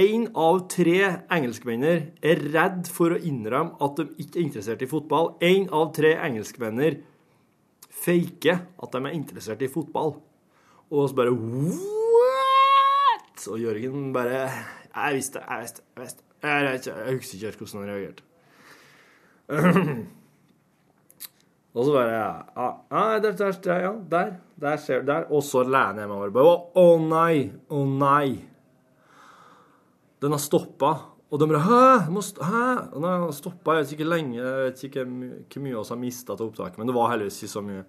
Én av tre engelskmenner er redd for å innrømme at de ikke er interessert i fotball. Én av tre engelskmenner faker at de er interessert i fotball. Og så bare What?! Og Jørgen bare Jeg visste, jeg visste, jeg visste. Jeg, vet ikke, jeg husker ikke helt hvordan han reagerte. Og så bare ja, ja, der, der, der, ja, der, der ser du der. Og så lener jeg meg over. bare, Å å nei! Å nei! Den har stoppa. Og de bare Hæ? Du må st- Hæ? Og Den har stoppa. Jeg vet ikke lenge, jeg vet ikke my- hvor mye vi har mista av opptaket, men det var heldigvis ikke så mye.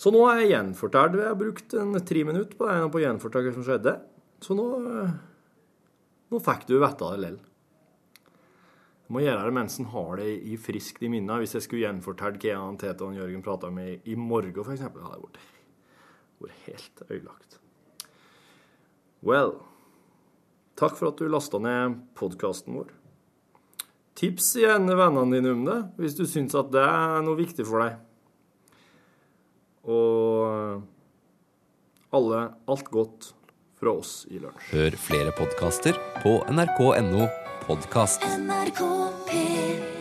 Så nå er jeg gjenfortalt. Jeg har brukt en tre minutter på det på å gjenfortelle hva som skjedde. Så nå eh, Nå fikk du vite det lell. Jeg må gjøre det mens en har det i friskt i minnet. Hvis jeg skulle gjenfortalt hva jeg og Tete og Jørgen prata om i, i morgen, f.eks., hadde jeg vært, vært helt ødelagt. Well. Takk for at du lasta ned podkasten vår. Tips igjen vennene dine om det, hvis du syns at det er noe viktig for deg. Og alle alt godt fra oss i lunsj.
Hør flere podkaster på nrk.no podkast.
NRK P3